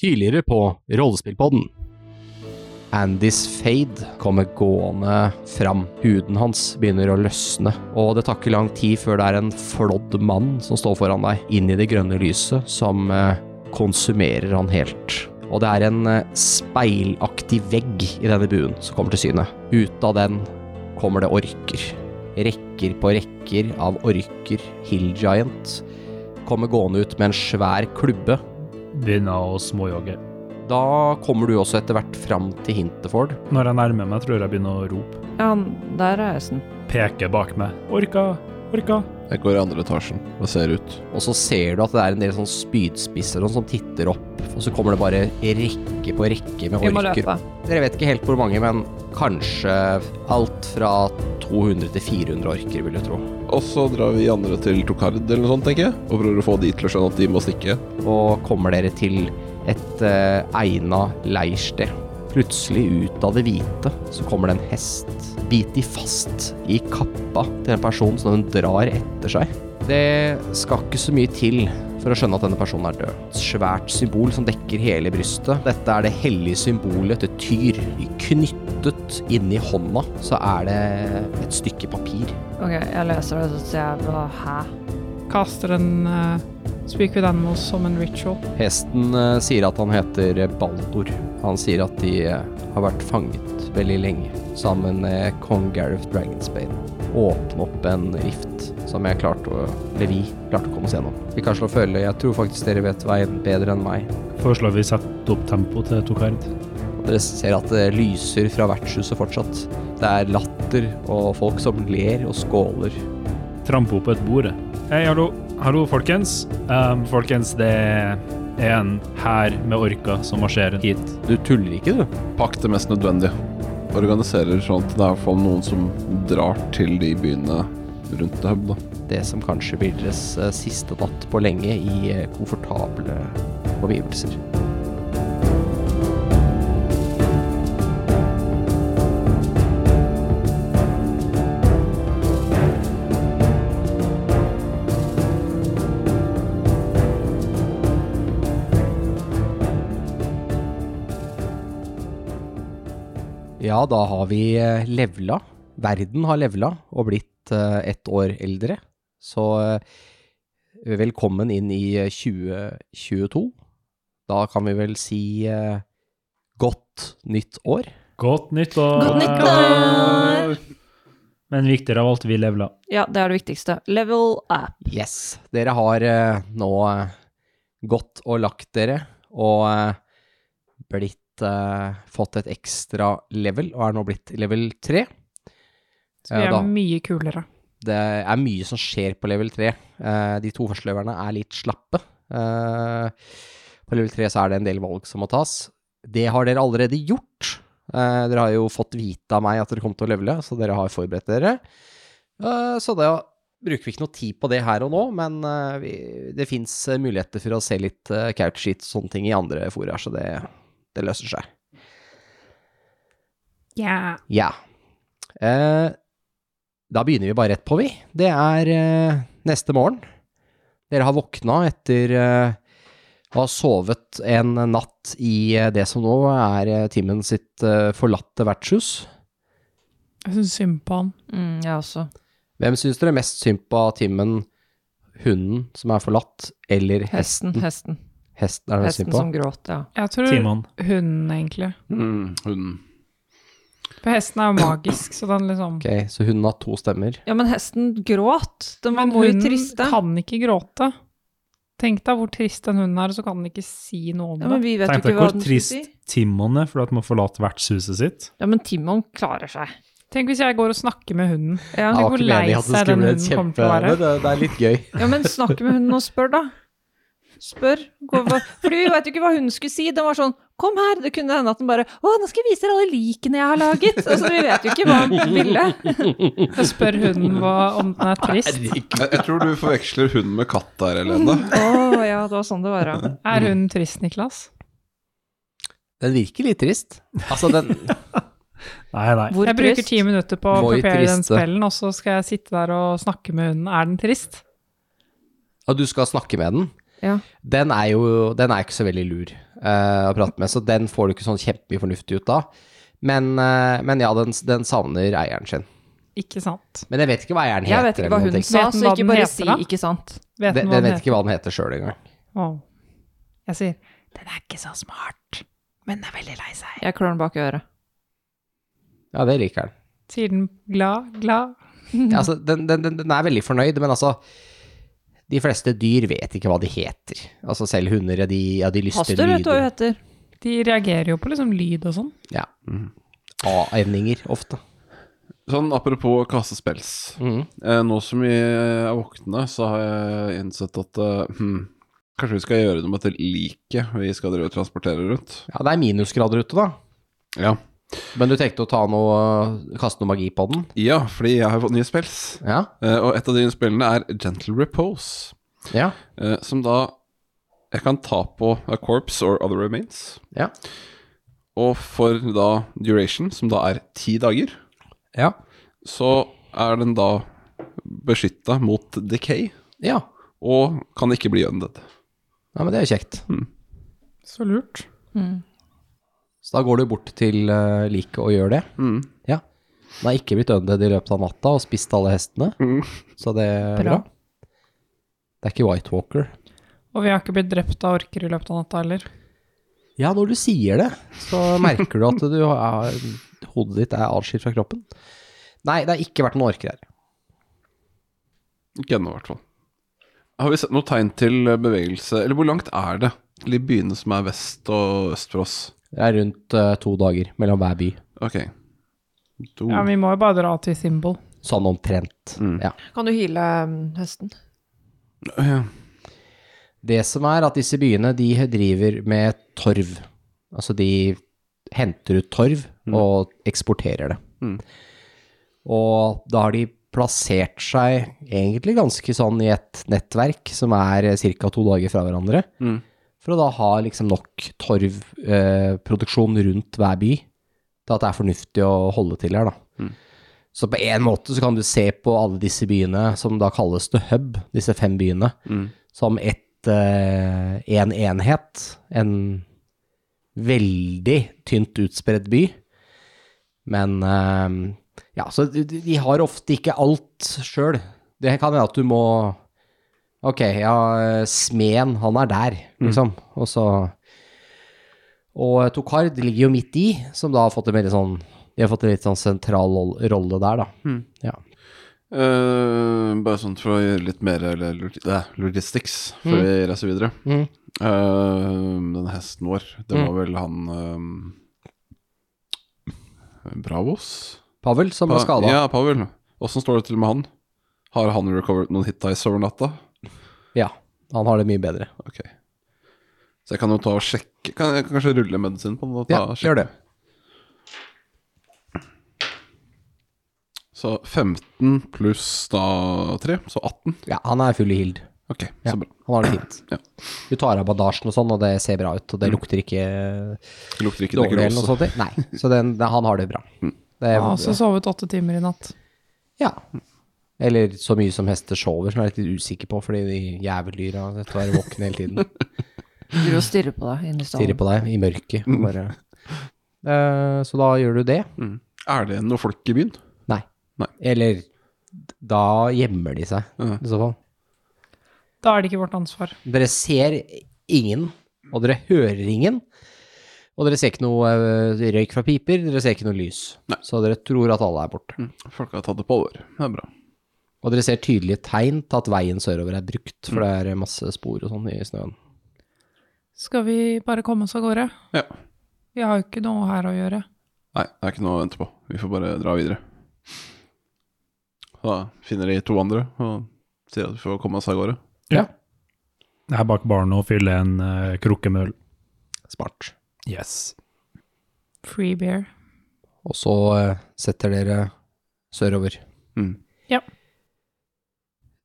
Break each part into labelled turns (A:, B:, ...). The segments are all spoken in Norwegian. A: tidligere på Rollespillpodden. Andys fade kommer gående fram. Huden hans begynner å løsne, og det tar ikke lang tid før det er en flådd mann som står foran deg, inn i det grønne lyset, som eh, konsumerer han helt. Og det er en eh, speilaktig vegg i denne buen som kommer til syne. Ut av den kommer det orker. Rekker på rekker av orker, Hill Giant, kommer gående ut med en svær klubbe
B: Begynner å småjogge.
A: da kommer du også etter hvert fram til Hinteford.
B: Når jeg nærmer meg, tror jeg begynner å rope.
C: Ja, der er hesten.
B: Peke bak meg. Orka! Orka!
D: Jeg går i andre etasjen og ser ut.
A: Og så ser du at det er en del sånn spydspisser og sånn som titter opp. Og så kommer det bare rekke på rekke med
C: Vi må
A: orker.
C: løpe.
A: Dere vet ikke helt hvor mange, men kanskje alt fra 200 til 400 orker, vil jeg tro.
D: Og så drar vi andre til Tokard eller noe sånt, tenker jeg. Og prøver å få de til å skjønne at de må stikke.
A: Og kommer dere til et eh, egna leirsted. Plutselig ut av det hvite så kommer det en hest. Bit de fast i kappa til en person som den drar etter seg. Det skal ikke så mye til for å skjønne at denne personen er død. Et svært symbol som dekker hele brystet. Dette er det hellige symbolet til Tyr. Knyttet inni hånda så er det et stykke papir.
C: Ok, jeg leser det, så ser jeg hva Hæ?
E: Kaster en eh, Speak with Animals som en ritual.
A: Hesten eh, sier at han heter Baldor. Han sier at de eh, har vært fanget veldig lenge, sammen med kong Gareth Dragonsbane. Åpne opp en rift som jeg klarte å Eller vi klarte å komme oss gjennom. Vi kan slå følge. Jeg tror faktisk dere vet veien bedre enn meg.
B: Foreslår vi setter opp tempo til Tokard.
A: Og dere ser at det lyser fra vertshuset fortsatt. Det er latter og folk som ler og skåler.
B: Trampe opp et bord. Hei, hallo. Hallo, folkens. Ehm, folkens, det er en hær med orker som marsjerer hit.
A: Du tuller ikke, du?
D: Pakk det mest nødvendige. Organiserer sånn at det er i hvert fall noen som drar til de byene rundt det hub, da.
A: Det som kanskje blir deres eh, siste natt på lenge i eh, komfortable omgivelser. Ja, da har vi eh, levela. Verden har levela og blitt eh, ett år eldre. Så eh, velkommen inn i eh, 2022. Da kan vi vel si eh, godt nytt år.
B: Godt nyttår!
C: Godt nyttår!
B: Men viktigere av alt, vi levela.
C: Ja, det er det viktigste. Level up.
A: Yes, dere har eh, nå eh, gått og lagt dere og eh, blitt eh, fått et ekstra level, og er nå blitt level 3.
E: Så vi
A: Ja,
E: er
A: da.
E: mye kulere.
A: det er mye som skjer på level 3. Eh, de to første leverne er litt slappe. Eh, på level 3 så er det en del valg som må tas. Det har dere allerede gjort. Eh, dere har jo fått vite av meg at dere kom til å levele, så dere har forberedt dere. Eh, så da bruker vi ikke noe tid på det her og nå, men eh, vi, det fins muligheter for å se litt eh, couchsheet og sånne ting i andre fora, så det, det løser seg.
E: Ja.
A: Ja. Eh, da begynner vi bare rett på, vi. Det er eh, neste morgen. Dere har våkna etter eh, å ha sovet en natt i eh, det som nå er eh, Timmen sitt eh, forlatte vertshus.
E: Jeg syns synd på han.
C: Mm, jeg også.
A: Hvem syns dere mest synd på av Timmen? Hunden som er forlatt, eller
C: Hesten,
A: hesten?
C: hesten.
A: Hesten er det synd
C: Hesten
A: på?
C: som gråt, ja.
E: Jeg tror
B: Timon.
E: hunden, egentlig.
D: Mm, hunden.
E: For hesten er jo magisk, så den liksom
A: Ok, så hunden har to stemmer.
C: Ja, men hesten gråt. Den
E: Men
C: var jo
E: hunden
C: triste.
E: kan ikke gråte. Tenk deg hvor trist den hunden er, og så kan den ikke si noe om
C: Ja, men
E: det.
C: vi vet jo
B: Tenk
C: ikke
B: deg
C: hva
B: hvor
C: den skulle
B: trist
C: si.
B: Timon er for at man forlater vertshuset sitt.
C: Ja, men Timon klarer seg.
E: Tenk hvis jeg går og snakker med hunden.
C: Ja,
E: Ja. tenk hvor lei seg den hunden kommer til å være.
A: Det, det er litt gøy.
C: ja men snakk med hunden og spør, da. Spør. Gå, hva- fordi vi vet jo ikke hva hunden skulle si. Den var sånn Kom her! Det kunne hende at den bare Å, nå skal jeg vise dere alle likene jeg har laget! Altså, vi vet jo ikke hva den ville.
E: Jeg spør hunden hva, om den er trist.
D: Jeg, jeg tror du forveksler hunden med katt der, Helene.
C: Å ja, det var sånn det var, ja.
E: Er hunden trist, Niklas?
A: Den virker litt trist. Altså, den
B: Nei, nei.
C: Hvor
E: Jeg bruker ti minutter på å
A: Voi
E: prepare den
A: triste.
E: spellen, og så skal jeg sitte der og snakke med hunden. Er den trist?
A: Og du skal snakke med den?
C: Ja.
A: Den er jo den er ikke så veldig lur. eh, å prate med, så den får du ikke sånn kjempemye fornuftig ut av. Men, eh, men ja, den, den savner eieren sin.
E: Ikke sant.
A: Men jeg vet ikke hva eieren heter.
C: Jeg vet ikke hva
A: eller noen
C: hun
A: ting.
C: sa,
E: Vet
C: så
E: den hva
C: ikke
E: den
C: bare
E: heter,
C: si
E: da?
C: 'ikke sant'.
A: Den,
E: Vet den hva
A: den
E: den
A: vet
E: heter?
A: ikke hva den heter sjøl engang.
E: Åh. Jeg sier, den er ikke så smart, men den er veldig lei seg.
C: Jeg klør den bak i øret.
A: Ja, det liker han.
E: Sier den glad, glad.
C: Mhm.
A: Ja, altså, den, den, den, den er veldig fornøyd, men altså De fleste dyr vet ikke hva de heter. Altså Selv hunder, ja, de, ja, de lyster
C: Pastor vet du hva hun
A: lyder.
C: heter.
E: De reagerer jo på liksom lyd og sånn.
A: Ja. A-evninger, ofte.
D: Sånn apropos kaste spels.
A: Mhm.
D: Eh, nå som vi er våkne, så har jeg innsett at eh, hm, kanskje vi skal gjøre noe med dette liket vi skal drive og transportere rundt.
A: Ja, det er minusgrader ute, da.
D: Ja.
A: Men du tenkte å ta noe, kaste noe magi på den?
D: ja, fordi jeg har fått nye spels.
A: Ja.
D: Eh, og et av de nye spillene er Gentle Repose,
A: Ja.
D: eh, som da jeg kan ta på a corpse or other remains.
A: Ja.
D: Og for da duration, som da er ti dager,
A: Ja.
D: så er den da beskytta mot decay
A: ja.
D: og kan ikke bli undead.
A: Ja, men det er jo kjekt.
E: Så lurt.
A: Så da går du bort til uh, liket og gjør det. Ja. Den har ikke blitt undead i løpet av natta og spist alle hestene, så det er bra.
E: Bra.
A: Det er ikke White Walker.
E: Og vi har ikke blitt drept av orker i løpet av natta heller.
A: Ja, når du sier det, så merker du at du har, hodet ditt er adskilt fra kroppen. Nei, det har ikke vært noen orker her.
D: Ikke ennå, i hvert fall. Har vi sett noe tegn til bevegelse Eller hvor langt er det til de byene som er vest og øst for oss?
A: Det er rundt eh, to dager mellom hver by.
D: Ok. Do.
E: Ja, vi må jo bare dra til Symbol.
A: Sånn omtrent. Ja.
C: Kan du hyle um, høsten?
D: Ja.
A: Det som er at disse byene, de driver med torv. Altså de henter ut torv og eksporterer det. Og da har de plassert seg egentlig ganske sånn i et nettverk som er ca. to dager fra hverandre, for å da ha liksom nok torvproduksjon rundt hver by til at det er fornuftig å holde til her, da. Så på en måte så kan du se på alle disse byene, som da kalles the hub, disse fem byene, som ett, eh, en enhet, en veldig tynt utspredt by. Men eh, ja, så de, de har ofte ikke alt sjøl. Det kan være at du må Ok, ja, smeden, han er der, liksom. Og så Og eh, Tokard ligger jo midt i, som da har fått en veldig sånn De har fått en litt sånn sentral rolle der, da. Ja.
D: Eh, bare sånn for å gjøre litt mer eller, log- eh, logistics før vi reiser videre.
A: Mm.
D: Eh, den hesten vår, det var vel han eh, Bravos?
A: Pavel, som ble
D: Pa-
A: skada.
D: Ja, Pavel. Åssen står det til med han? Har han recovered noen hit dice over natta?
A: ja. Han har det mye bedre.
D: Ok. Så jeg kan jo ta og sjekke kan, Jeg kan kanskje rulle medisin på den? Og ta,
A: Ja,
D: og sjekke.
A: gjør det.
D: Så 15 pluss da 3, så 18.
A: Ja, han er full i hild.
D: Ok,
A: Ja,
D: så bra.
A: han har det fint.
D: Ja. Mm.
A: Du tar av bandasjen og sånn, og det ser bra ut, og det lukter ikke
D: Det lukter ikke Mm.
A: dårlig eller noe
D: nekrose.
A: sånt. Nei, så den, den, han har det bra. Det
E: Jeg har også
A: er,
E: sovet åtte timer i natt.
A: ja. Eller så mye som hester sover, som jeg er litt usikker på, fordi de jæveldyra vet du, er våkne hele tiden.
C: Driver og stirrer på deg inne i
A: Stirrer
C: stallen.
A: på deg i mørket.
D: Mm.
A: og Bare. Eh, så da gjør du det.
D: Er det noe folk i byen?
A: Nei.
D: Mm. Nei.
A: Eller da gjemmer de seg,
D: Ja.
A: i så fall.
E: Da er det ikke vårt ansvar.
A: Dere ser ingen, og dere hører ingen. Og dere ser ikke noe eh, røyk fra piper, dere ser ikke noe lys. Så dere tror at alle er borte.
D: Folk har tatt det på alvor. Det er bra.
A: Og dere ser tydelige tegn til at veien sørover er brukt, for det er masse spor og sånn i snøen.
E: Skal vi bare komme oss av gårde?
D: Ja.
E: Vi har jo ikke noe her å gjøre.
D: Nei, det er ikke noe å vente på. Vi får bare dra videre. Da finner de to andre og sier at vi får komme oss av gårde.
B: Jeg er bak baren og fyller en eh, krukke med øl.
A: Smart.
B: Yes.
E: Free beer.
A: Og så eh, setter dere sørover.
D: Mm.
E: Ja.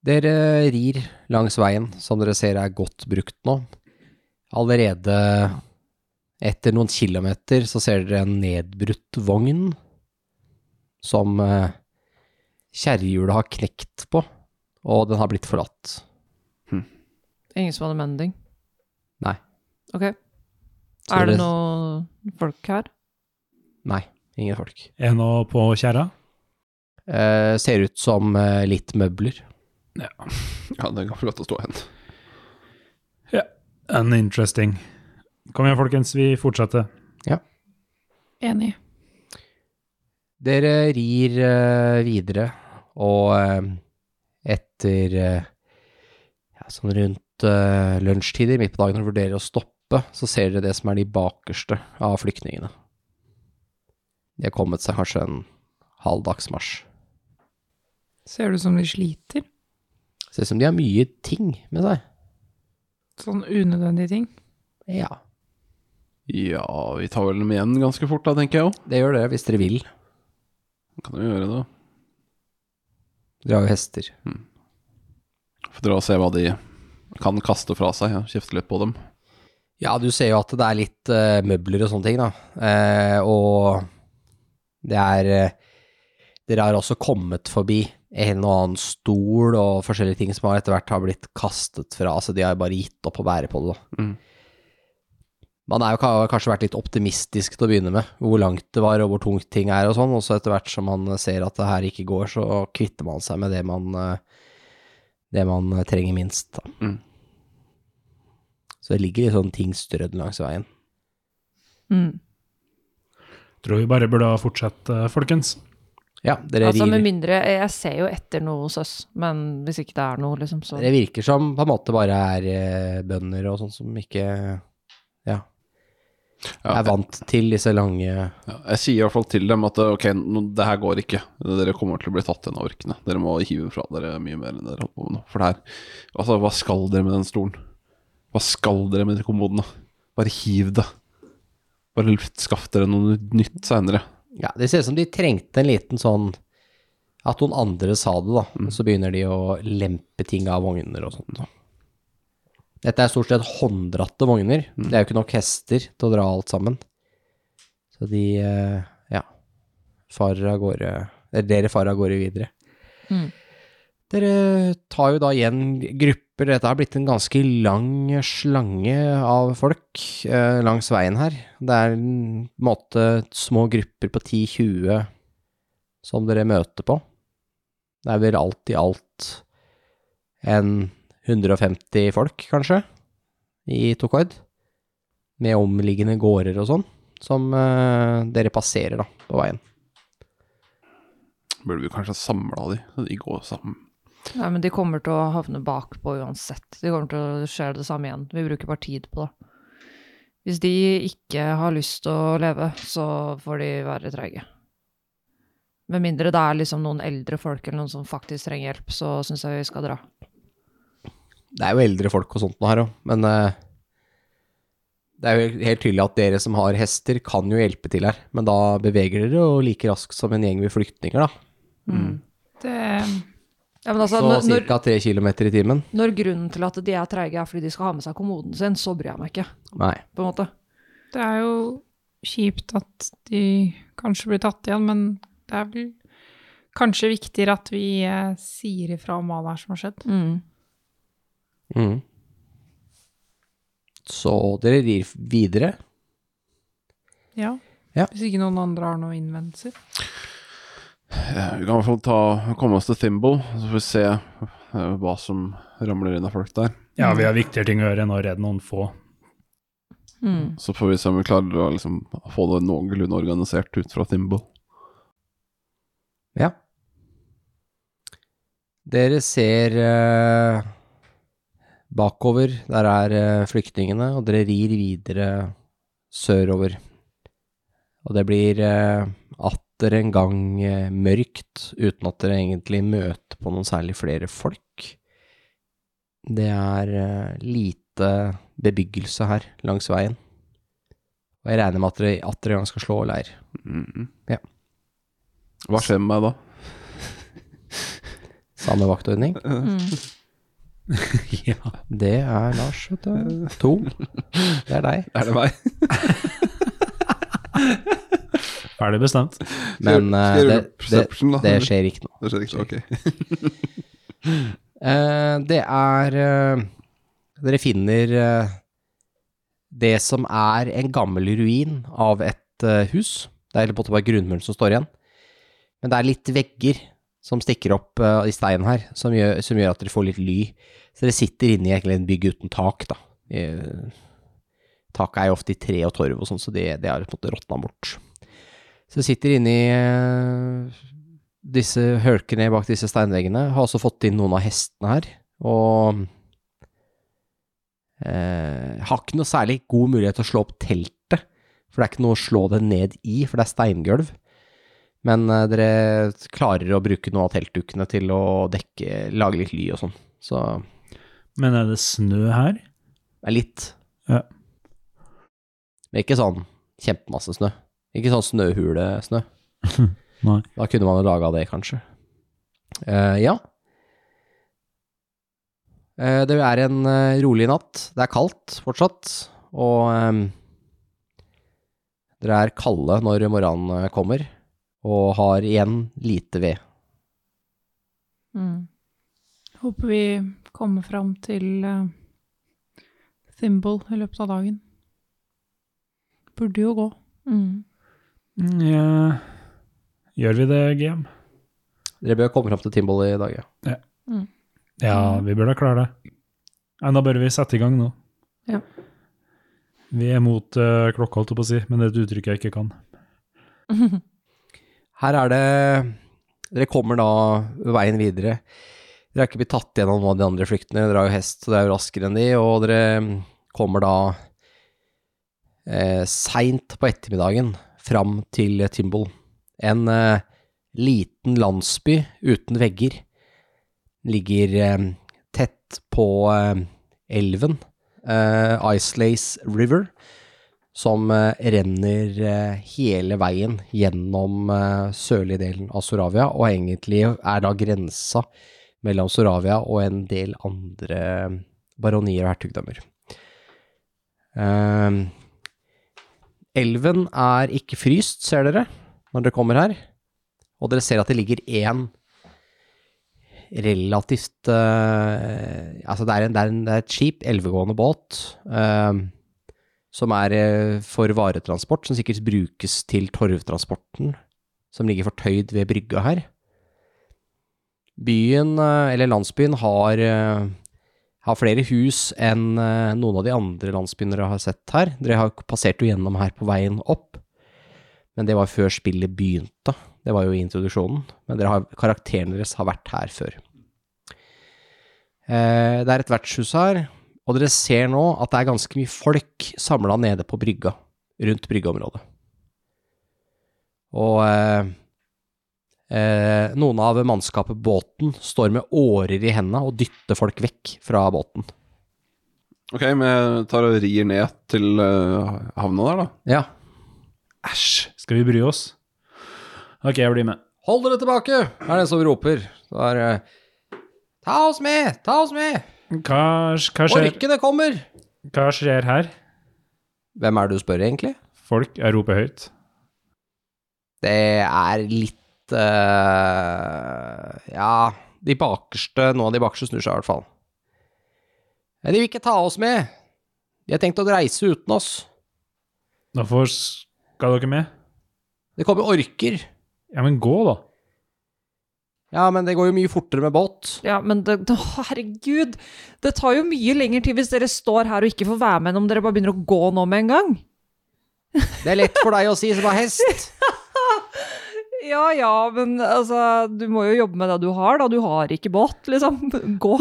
A: Dere rir langs veien, som dere ser er godt brukt nå. Allerede etter noen kilometer så ser dere en nedbrutt vogn som eh, kjerrehjulet har knekt på, og den har blitt forlatt.
C: Ingen som hadde mending?
A: Nei.
C: Ok.
A: Så
C: er det
A: dere-
C: noe folk her?
A: Nei, ingen folk.
B: Er det noe på kjerra?
A: Eh, ser ut som eh, litt møbler.
D: Ja, den kan få lov til å stå hen.
B: An interesting. Kom igjen, folkens, vi fortsetter.
E: Enig.
A: Dere rir eh, videre, og eh, etter eh, ja, sånn rundt eh, lunsjtider midt på dagen når dere vurderer å stoppe, så ser dere det som er de bakerste av flyktningene. De har kommet seg kanskje en halv dags marsj.
E: Ser det ut som de sliter?
A: Ser ut som de har mye ting med seg.
E: Sånn unødvendige ting.
A: Ja,
D: Ja, vi tar vel dem igjen ganske fort da, tenker jeg òg.
A: det gjør dere hvis dere vil.
D: Kan vi gjøre det?
A: Dere har jo hester.
D: Få dra og se hva de kan kaste fra seg. Ja. Kjefte litt på dem.
A: Ja, du ser jo at det er litt eh, møbler og sånne ting, da. Eh, og det er eh, Dere har også kommet forbi en og annen stol og forskjellige ting som har etter hvert har blitt kastet fra, så de har bare gitt opp å bære på det, da.
D: Mm.
A: Man er jo, har kanskje vært litt optimistisk til å begynne med, hvor langt det var og hvor tungt ting er og sånn, og så etter hvert som man ser at det her ikke går, så kvitter man seg med det man, eh, det man trenger minst, da. Så det ligger litt sånn ting strødd langs veien.
C: Mm.
B: Tror vi bare burde fortsette, folkens.
A: Ja, dere
C: Altså, med
A: rir.
C: mindre Jeg ser jo etter noe hos oss, men hvis ikke det er noe, liksom, så
A: Det virker som på en måte bare er eh, bønder og sånn som ikke ja,
D: Ja,
A: er vant til disse lange
D: Ja, jeg sier i hvert fall til dem at eh, ok, nå, det her går ikke. Dere kommer til å bli tatt igjen av orkene. Dere må hive fra dere mye mer enn dere holdt på med nå. For det her Altså, hva skal dere med den stolen? Hva skal dere med de kommodene? Bare hiv det. Bare skaff dere noe nytt seinere.
A: Ja, det ser ut som de trengte en liten sånn At noen andre sa det, da. Så begynner de å lempe ting av vogner og sånt. da. Dette er stort sett hånddratte vogner. Det er jo ikke nok hester til å dra alt sammen. Så de eh, ja, farer av gårde Eller dere farer av gårde videre.
C: Mm.
A: Dere tar jo da igjen grupper. Dette har blitt en ganske lang slange av folk eh, langs veien her. Det er en måte små grupper på 10-20 som dere møter på. Det er vel alt i alt en 150 folk, kanskje, i Tokord. Med omliggende gårder og sånn, som eh, dere passerer da, på veien.
D: Burde vi kanskje ha samla de, så de går sammen.
C: Nei, men de kommer til å havne bakpå uansett. De kommer til å skje det samme igjen. Vi bruker bare tid på det. Hvis de ikke har lyst til å leve, så får de være treige. Med mindre det er liksom noen eldre folk eller noen som faktisk trenger hjelp, så syns jeg vi skal dra.
A: Det er jo eldre folk og sånt nå her òg, men eh, det er jo helt tydelig at dere som har hester, kan jo hjelpe til her. Men da beveger dere jo like raskt som en gjeng med flyktninger, da.
E: Det
C: Ja, men altså,
A: Så
C: når, når,
A: ca. tre kilometer i timen.
C: når grunnen til at de er treige er fordi de skal ha med seg kommoden sin, så bryr jeg meg ikke,
A: Nei.
C: på en måte.
E: Det er jo kjipt at de kanskje blir tatt igjen, men det er vel kanskje viktigere at vi eh, sier ifra om hva det er som har skjedd.
A: Mm. Så dere rir videre.
E: Ja.
A: Ja.
E: Hvis ikke noen andre har noen innvendelser.
D: Eh, Vi kan i hvert fall ta, komme oss til Thimble, så får vi se eh, hva som ramler inn av folk der.
B: Ja, vi har viktigere ting å gjøre enn å redde noen få.
D: Så får vi se om vi klarer å liksom, få det noenlunde organisert ut fra Thimble.
A: Ja. Dere ser eh, bakover, der er eh, flyktningene, og dere rir videre sørover. Og det blir eh, atter en gang eh, mørkt, uten at dere egentlig møter på noen særlig flere folk. Det er eh, lite bebyggelse her langs veien. Og jeg regner med at dere atter en gang skal slå leir.
D: Mhm.
A: Ja.
D: Hva skjer med meg da?
A: Samme vaktordning.
E: Mm.
B: ja.
A: Det er Lars, vet du. To. Det er deg.
D: Er det meg?
B: Ferdig bestemt.
A: Men eh,
D: Skal jeg
A: det,
D: rulle
A: det,
D: perception, da?
A: det skjer ikke noe.
D: Det skjer ikke, ok.
A: Eh, det er eh, Dere finner eh, det som er en gammel ruin av et eh, hus. Det er på en måte bare grunnmuren som står igjen. Men det er litt vegger som stikker opp eh, i steinen her, som gjør, som gjør at dere får litt ly. Så dere sitter inne i egentlig en bygg uten tak, da. Eh, Taket er jo ofte i tre og torv og sånn, så det, det har på en måte råtna bort. Så dere sitter inne i eh, disse hølkene bak disse steinveggene. Har også fått inn noen av hestene her, og Eh, har ikke noe særlig god mulighet til å slå opp teltet, for det er ikke noe å slå det ned i, for det er steingulv. Men eh, dere klarer å bruke noe av teltdukene til å dekke, lage litt ly og sånn. Så
B: Men er det snø her?
A: det er litt.
B: Ja.
A: Men ikke sånn kjempemasse snø. Ikke sånn snøhulesnø.
B: Nei.
A: Da kunne man jo laga det, kanskje. Eh, ja. Eh, det er en eh, rolig natt. Det er kaldt fortsatt, og ehm, dere er kalde når morgenen eh, kommer, og har igjen lite ved.
C: Mm.
E: Håper vi kommer fram til eh, Thimble i løpet av dagen. Burde jo gå.
C: Mm.
B: Ja. Gjør vi det, GM?
A: Dere bør komme fram til Timball i dag, ja.
B: Ja, vi bør da klare det. Men da bør vi sette i gang nå.
C: Ja.
B: Vi er mot eh, klokka, holdt jeg på å si, men det er et uttrykk jeg ikke kan.
A: Her er det Dere kommer da veien videre. Dere er ikke blitt tatt gjennom noen av de andre flyktene. Dere har jo hest, så det er jo raskere enn de, og dere mm, kommer da eh, seint på ettermiddagen fram til Timbal. En eh, liten landsby uten vegger. Ligger eh, tett på eh, elven, eh, Icelace River som eh, renner eh, hele veien gjennom eh, sørlige delen av Soravia, og egentlig er da grensa mellom Soravia og en del andre eh, baronier og hertugdømmer. Eh, elven er ikke fryst, ser dere, når dere kommer her, og dere ser at det ligger én relativt eh, Altså, det er, en, det, er en, det er et skip, elvegående båt. eh, som er eh, for varetransport, som sikkert brukes til torvtransporten, som ligger fortøyd ved brygga her. Byen, eh, eller landsbyen, har, eh, har flere hus enn eh, noen av de andre landsbyene dere har sett her. Dere har passert jo gjennom her på veien opp, men det var før spillet begynte. Det var jo i introduksjonen, men dere har, karakteren deres har vært her før. Eh, Det er et vertshus her, og dere ser nå at det er ganske mye folk samla nede på brygga, rundt bryggeområdet. Og eh, eh, noen av mannskapet båten står med årer i hendene og dytter folk vekk fra båten.
D: Ok, men jeg tar og rir ned til eh, havna der, da.
A: Ja.
B: Æsj, skal vi bry oss? Ok, jeg blir med.
A: Hold dere tilbake, er det en som roper. Det er eh, Ta oss med, ta oss med!
B: Hva, hva, skjer,
A: Orkene kommer!
B: hva skjer her?
A: Hvem er det du spør, egentlig?
B: Folk, jeg roper høyt.
A: Det er litt eh, Ja, de bakerste, noen av de bakerste snur seg i hvert fall. Nei, De vil ikke ta oss med. De har tenkt å reise uten oss.
B: Hvorfor skal dere med?
A: Det kommer orker.
B: Ja, men gå da.
A: Ja, men det går jo mye fortere med båt.
C: Ja, men det, å, herregud, det tar jo mye lenger tid hvis dere står her og ikke får være med enn om dere bare begynner å gå nå med en gang.
A: Det er lett for deg å si som har hest.
C: Ja ja, men altså, du må jo jobbe med det du har, da. Du har ikke båt, liksom. Gå.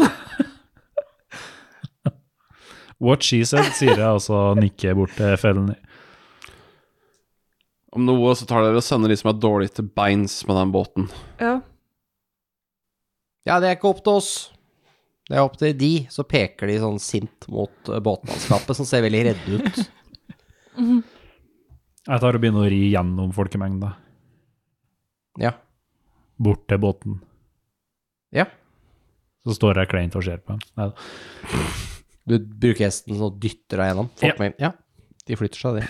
B: What she said, sier jeg, og så nikker jeg bort til fellen.
D: Om noe så tar dere og sender de som er dårlige til beins med den båten.
C: Ja.
A: Ja, det er ikke opp til oss. Det er opp til de. Så peker de sånn sint mot eh, båtmannskapet, som ser veldig redde ut.
B: Jeg tar og begynner å ri gjennom folkemengda,
A: Ja.
B: bort til båten.
A: ja.
B: Så står jeg kleint og ser på dem. Neida.
A: Du bruker hesten og dytter deg gjennom. Folk med- ja. De flytter seg, de.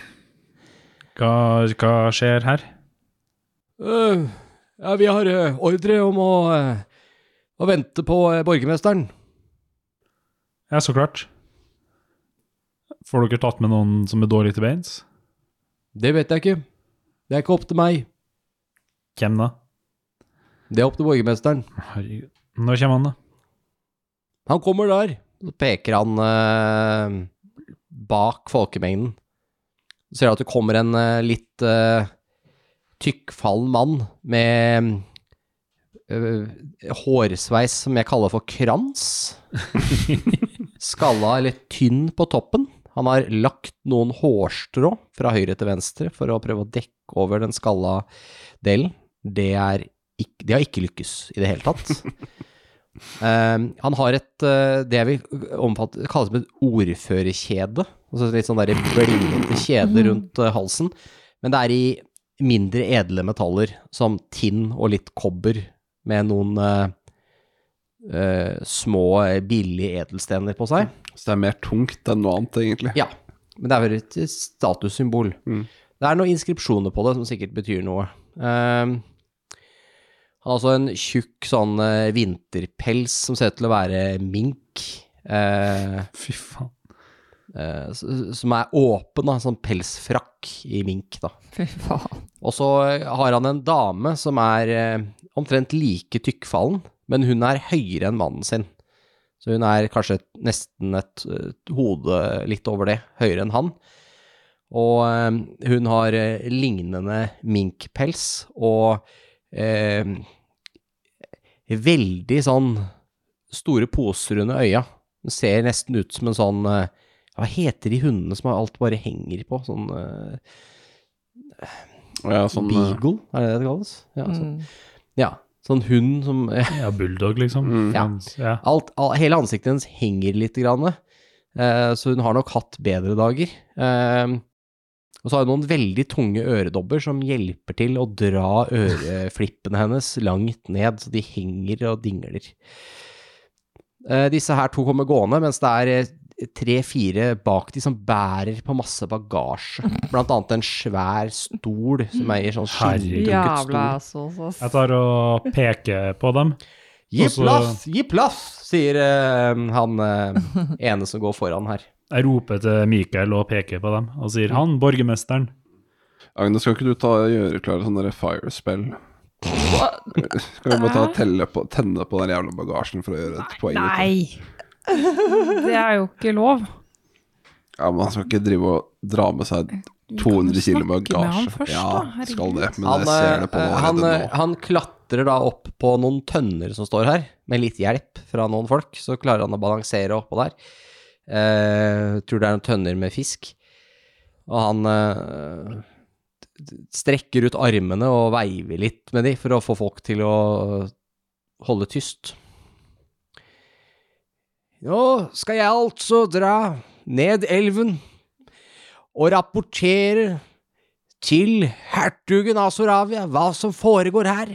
B: Hva, hva skjer her?
A: Eh, ja, vi har eh, ordre om å, eh, å øh, vente på eh, borgermesteren.
B: Ja, så klart. Får dere tatt med noen som er dårlig til beins?
A: Det vet jeg ikke. Det er ikke opp til meg.
B: Hvem da?
A: Det er opp til borgermesteren.
B: Herregud. Når kommer han, da?
A: Han kommer der. Så peker han eh, bak folkemengden. Du ser at det kommer en eh, litt eh, tykkfallen mann med eh, hårsveis som jeg kaller for krans. Skalla eller tynn på toppen. Han har lagt noen hårstrå fra høyre til venstre for å prøve å dekke over den skalla delen. Det, er ikk- det har ikke lykkes i det hele tatt. Eh, han har et eh, det jeg vil omfatte, kalle som et ordførerkjede. Altså litt sånn der blingete kjede rundt eh, halsen. Men det er i mindre edle metaller, som tinn og litt kobber, med noen eh, eh, små, eh, billige edelstener på seg.
D: Så det er mer tungt enn noe annet, egentlig.
A: Ja, men det er vel et statussymbol.
D: Mm.
A: Det er noen inskripsjoner på det som sikkert betyr noe. Ehm, han har også en tjukk sånn eh, vinterpels som ser ut til å være mink, eh,
B: Fy faen.
A: eh, s- som er åpen, da, sånn pelsfrakk i mink. da.
C: Fy faen.
A: Og så eh, har han en dame som er eh, omtrent like tykkfallen, men hun er høyere enn mannen sin. Så hun er kanskje et- nesten et, eh, hode litt over det, høyere enn han. Og eh, hun har eh, lignende minkpels og eh, veldig sånn store poser under øya. Hun ser nesten ut som en sånn eh, Hva heter de hundene som alt bare henger på? Sånn eh,
D: Og jeg er sånn, eh,
A: Beagle, er det det det kalles? Ja, sånn,
C: Mm.
A: ja, sånn hund som
B: Ja, bulldog, liksom.
D: Mm.
A: Ja.
B: ja.
A: alt, all, Hele ansiktet hennes henger litt, grann, eh, så hun har nok hatt bedre dager. Eh, og så har hun noen veldig tunge øredobber som hjelper til å dra øreflippene hennes langt ned, så de henger og dingler. Eh, disse her to kommer gående, mens det er tre-fire bak de som bærer på masse bagasje. Blant annet en svær stol som eier sånn skinndunket
C: Jævla
A: stol.
C: assholes, ass.
B: Jeg tar og peker på dem.
A: Gi
B: Og så-
A: plass, gi plass, sier eh, han eh, ene som går foran her.
B: Jeg roper til Mikael og peker på dem og sier 'han, borgermesteren'.
D: Agnes, skal ikke du ta gjøre klare sånne der fire spell? Skal vi bare ta og telle på, tenne på den jævla bagasjen for å gjøre et poeng? ut av det?
E: Nei! Det er jo ikke lov.
D: Ja, men han skal ikke drive og dra med seg 200 kilo
E: Snakke med han
D: bagasje.
E: først,
D: ja,
E: da. Herregud.
D: skal det, men
A: Han,
D: jeg ser det på
A: eh,
D: han
A: han,
D: allerede
A: eh,
D: nå.
A: han klatrer da opp på noen tønner som står her, med litt hjelp fra noen folk, så klarer han å balansere oppå der. Eh, tror det er noen tønner med fisk. Og han eh, strekker ut armene og veiver litt med de for å få folk til å holde tyst. Nå skal jeg altså dra ned elven og rapportere til hertugen av Soravia hva som foregår her,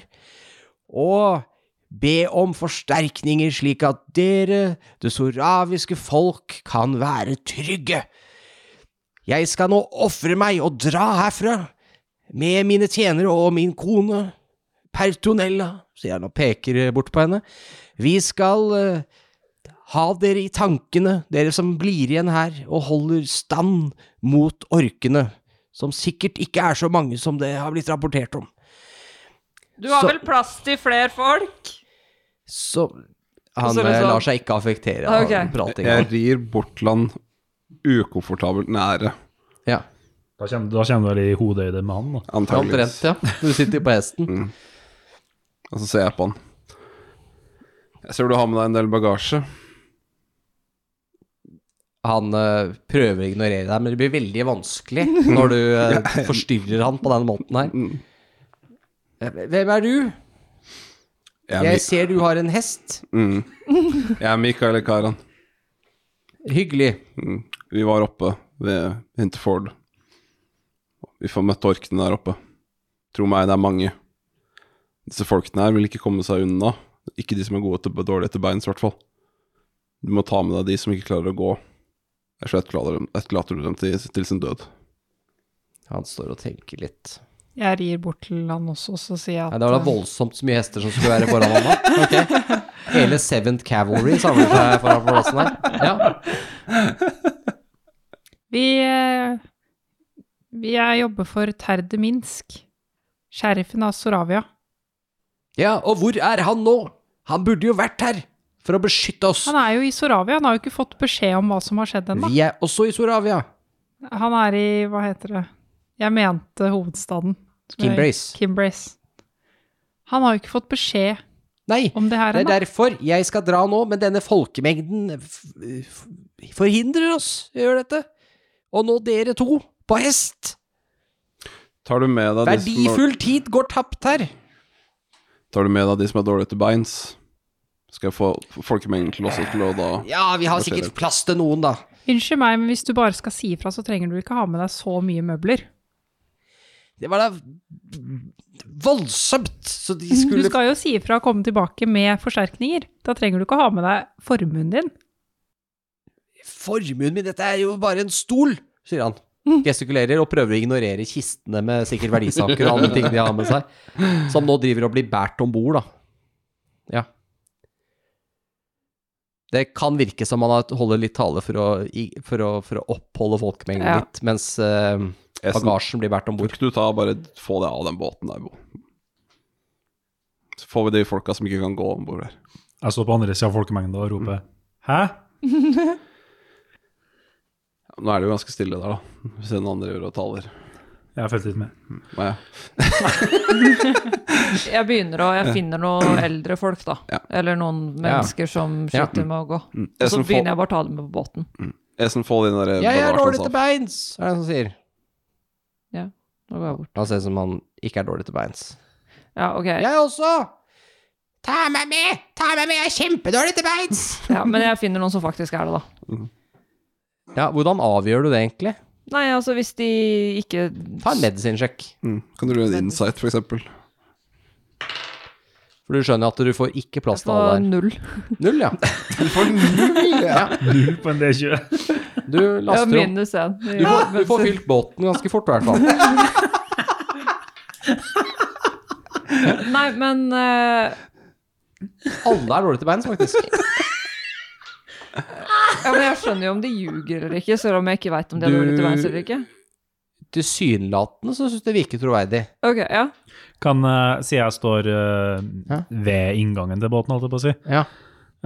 A: og be om forsterkninger slik at dere, det soraviske folk, kan være trygge. Jeg skal nå ofre meg og dra herfra, med mine tjenere og min kone, Pertonella, sier han og peker bort på henne. Vi skal eh, ha dere i tankene, dere som blir igjen her og holder stand mot orkene, som sikkert ikke er så mange som det har blitt rapportert om.
C: Du har
A: Så-
C: vel plass til flere folk?
A: Så han
C: så er det
A: eh,
C: sånn-
A: lar seg ikke affektere av
C: Ok.
A: pratinga.
D: Jeg rir Bortland ukomfortabelt nære,
A: Ja,
B: Da kommer, da kommer du vel i hodehøyde med han, da.
D: antageligvis.
A: omtrent, ja. Du sitter på hesten.
C: Mm.
D: Og så ser jeg på han. Jeg ser du har med deg en del bagasje.
A: Han eh, prøver å ignorere deg, men det blir veldig vanskelig når du eh, forstyrrer han på den måten her.
D: Mm.
A: Eh, Hvem er du?
D: Jeg er,
A: Jeg
D: Mi-
A: ser du har en hest.
D: mm. jeg er Mikael Karan.
A: Hyggelig.
D: Mm. Vi var oppe ved Hinterford. Vi får møtt orkene der oppe. Tro meg, det er mange. Disse folkene her vil ikke komme seg unna. Ikke de som er gode til, dårlige til beins, i hvert fall. Du må ta med deg de som ikke klarer å gå. Ellers så etterlater dem- etterlater du dem til, til sin død.
A: Han står og tenker litt.
E: Jeg rir bort til han også, så sier jeg at
A: Nei, det var da
E: eh,
A: voldsomt så mye hester som skulle være foran han da. Ok. Hele Seventh Cavalry samlet seg foran plassen her. Ja.
E: Vi, eh, vi jeg jobber for Terde Minsk, sheriffen av Soravia.
A: Ja, og hvor er han nå? Han burde jo vært her for å beskytte oss.
E: Han er jo i Soravia, han har jo ikke fått beskjed om hva som har skjedd ennå.
A: Vi er også i Soravia.
E: Han er i, hva heter det, jeg mente hovedstaden. som jeg-
A: Kimbrace.
E: Kimbrace. Han har jo ikke fått beskjed
A: Nei,
E: om det her
A: det er
E: ennå.
A: derfor jeg skal dra nå, men denne folkemengden f- f- forhindrer oss i å gjøre dette. Og nå dere to, på hest.
D: Tar du med deg de som har-
A: Verdifull tid går tapt her.
D: Tar du med deg de som er dårlige til beins? Skal jeg få folkemengden til også til å da
A: Ja, vi har
D: Hva skjer
A: sikkert
D: da?
A: plass til noen, da.
E: Unnskyld meg, men hvis du bare skal si ifra, så trenger du ikke ha med deg så mye møbler.
A: Det var da voldsomt, så de
E: Du
A: skulle
E: skal jo si ifra og komme tilbake med forsterkninger. Da trenger du ikke ha med deg formuen din.
A: Formuen min, dette er jo bare en stol, sier han. Gestikulerer og prøver å ignorere kistene med sikkert verdisaker og andre ting de har med seg. Som nå driver og blir båret om bord, da. Ja. Det kan virke som han har- holder litt tale for å, i- for å, for å oppholde folkemengden
C: Ja.
A: litt, mens eh,
D: Essen,
A: bagasjen blir båret om
D: Hvor
A: bord.
D: skal du ta bare få det av den båten der, Bo? Så får vi de folka som ikke kan gå om bord der.
B: Jeg står på andre sida av folkemengda og roper Hæ?
D: Nå er det jo ganske stille der, da. Hvis den andre gjør og taler.
B: Jeg har fulgt litt med.
D: Nei,
C: Jeg begynner og jeg finner noen eldre folk, da.
D: Ja. Mm.
C: Eller noen mennesker som
A: Ja.
C: sliter med å gå. Og så
D: Esen, få,
C: begynner jeg bare å ta dem med på båten.
D: Esen, få den der
A: Jeg er dårlig
D: bagasjen
A: til
D: av.
A: beins, er det han som sier.
C: Nå går jeg bort.
A: Han ser ut som han ikke er dårlig til beins.
C: Ja, ok.
A: Jeg også! Ta meg med! Ta meg med! Jeg er kjempedårlig til beins!
C: Ja, men jeg finner noen som faktisk er det, da.
A: Ja, hvordan avgjør du det egentlig?
C: Nei, altså hvis de ikke
A: Ta en medisinsjekk.
D: Mm. Kan du gjøre en insight, for eksempel?
A: For du skjønner at du får ikke plass til
C: var
A: alle
C: Altså, null.
A: der. Null, ja.
B: Null på en D20.
A: Du
C: Ja,
A: laster om.
C: minus én.
A: Du får, du får fylt båten ganske fort, i hvert fall.
C: Nei, men eh,
A: Alle er dårlige til beins, faktisk.
C: ja, men Jeg skjønner jo om de ljuger eller ikke, selv om jeg ikke veit om de er
A: Du-
C: dårlige til verden eller ikke.
A: Tilsynelatende så syns det virker troverdig.
C: Ok, ja.
B: Kan eh, Si jeg står eh,
A: Hæ?
B: ved inngangen til båten, holdt jeg på å si.
A: Ja,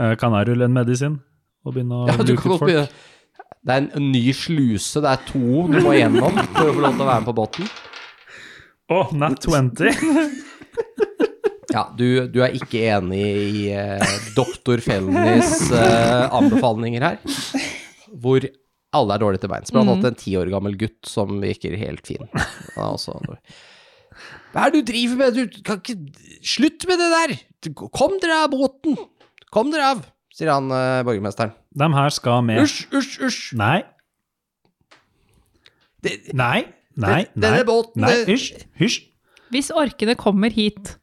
B: Eh, kan jeg rulle en medisin? Og begynne å
A: ja du
B: luke
A: kan
B: ut
A: godt
B: folk?
A: begynne. Det er en ny sluse, det er to du må gjennom for å få lov til å være med på båten.
B: Å, nat
A: Ja,
B: 20!
A: du, du er ikke enig i eh, doktor Felnys eh, anbefalinger her, hvor alle er dårlige til beins. Blant
B: Mm.
A: annet en ti år gammel gutt som virker helt fin. Han er også dårlig. Hva er det du driver med? Du kan ikke Slutt med det der! Kom dere av båten! Kom dere av! Sier han eh, borgermesteren.
B: De her skal med.
A: Usj, usj, usj!
B: Nei.
A: Det-
B: Nei. Nei.
A: Den- denne
B: nei.
A: båten,
B: Nei.
A: det-
B: Hysj. Hysj.
E: Hvis orkene kommer hit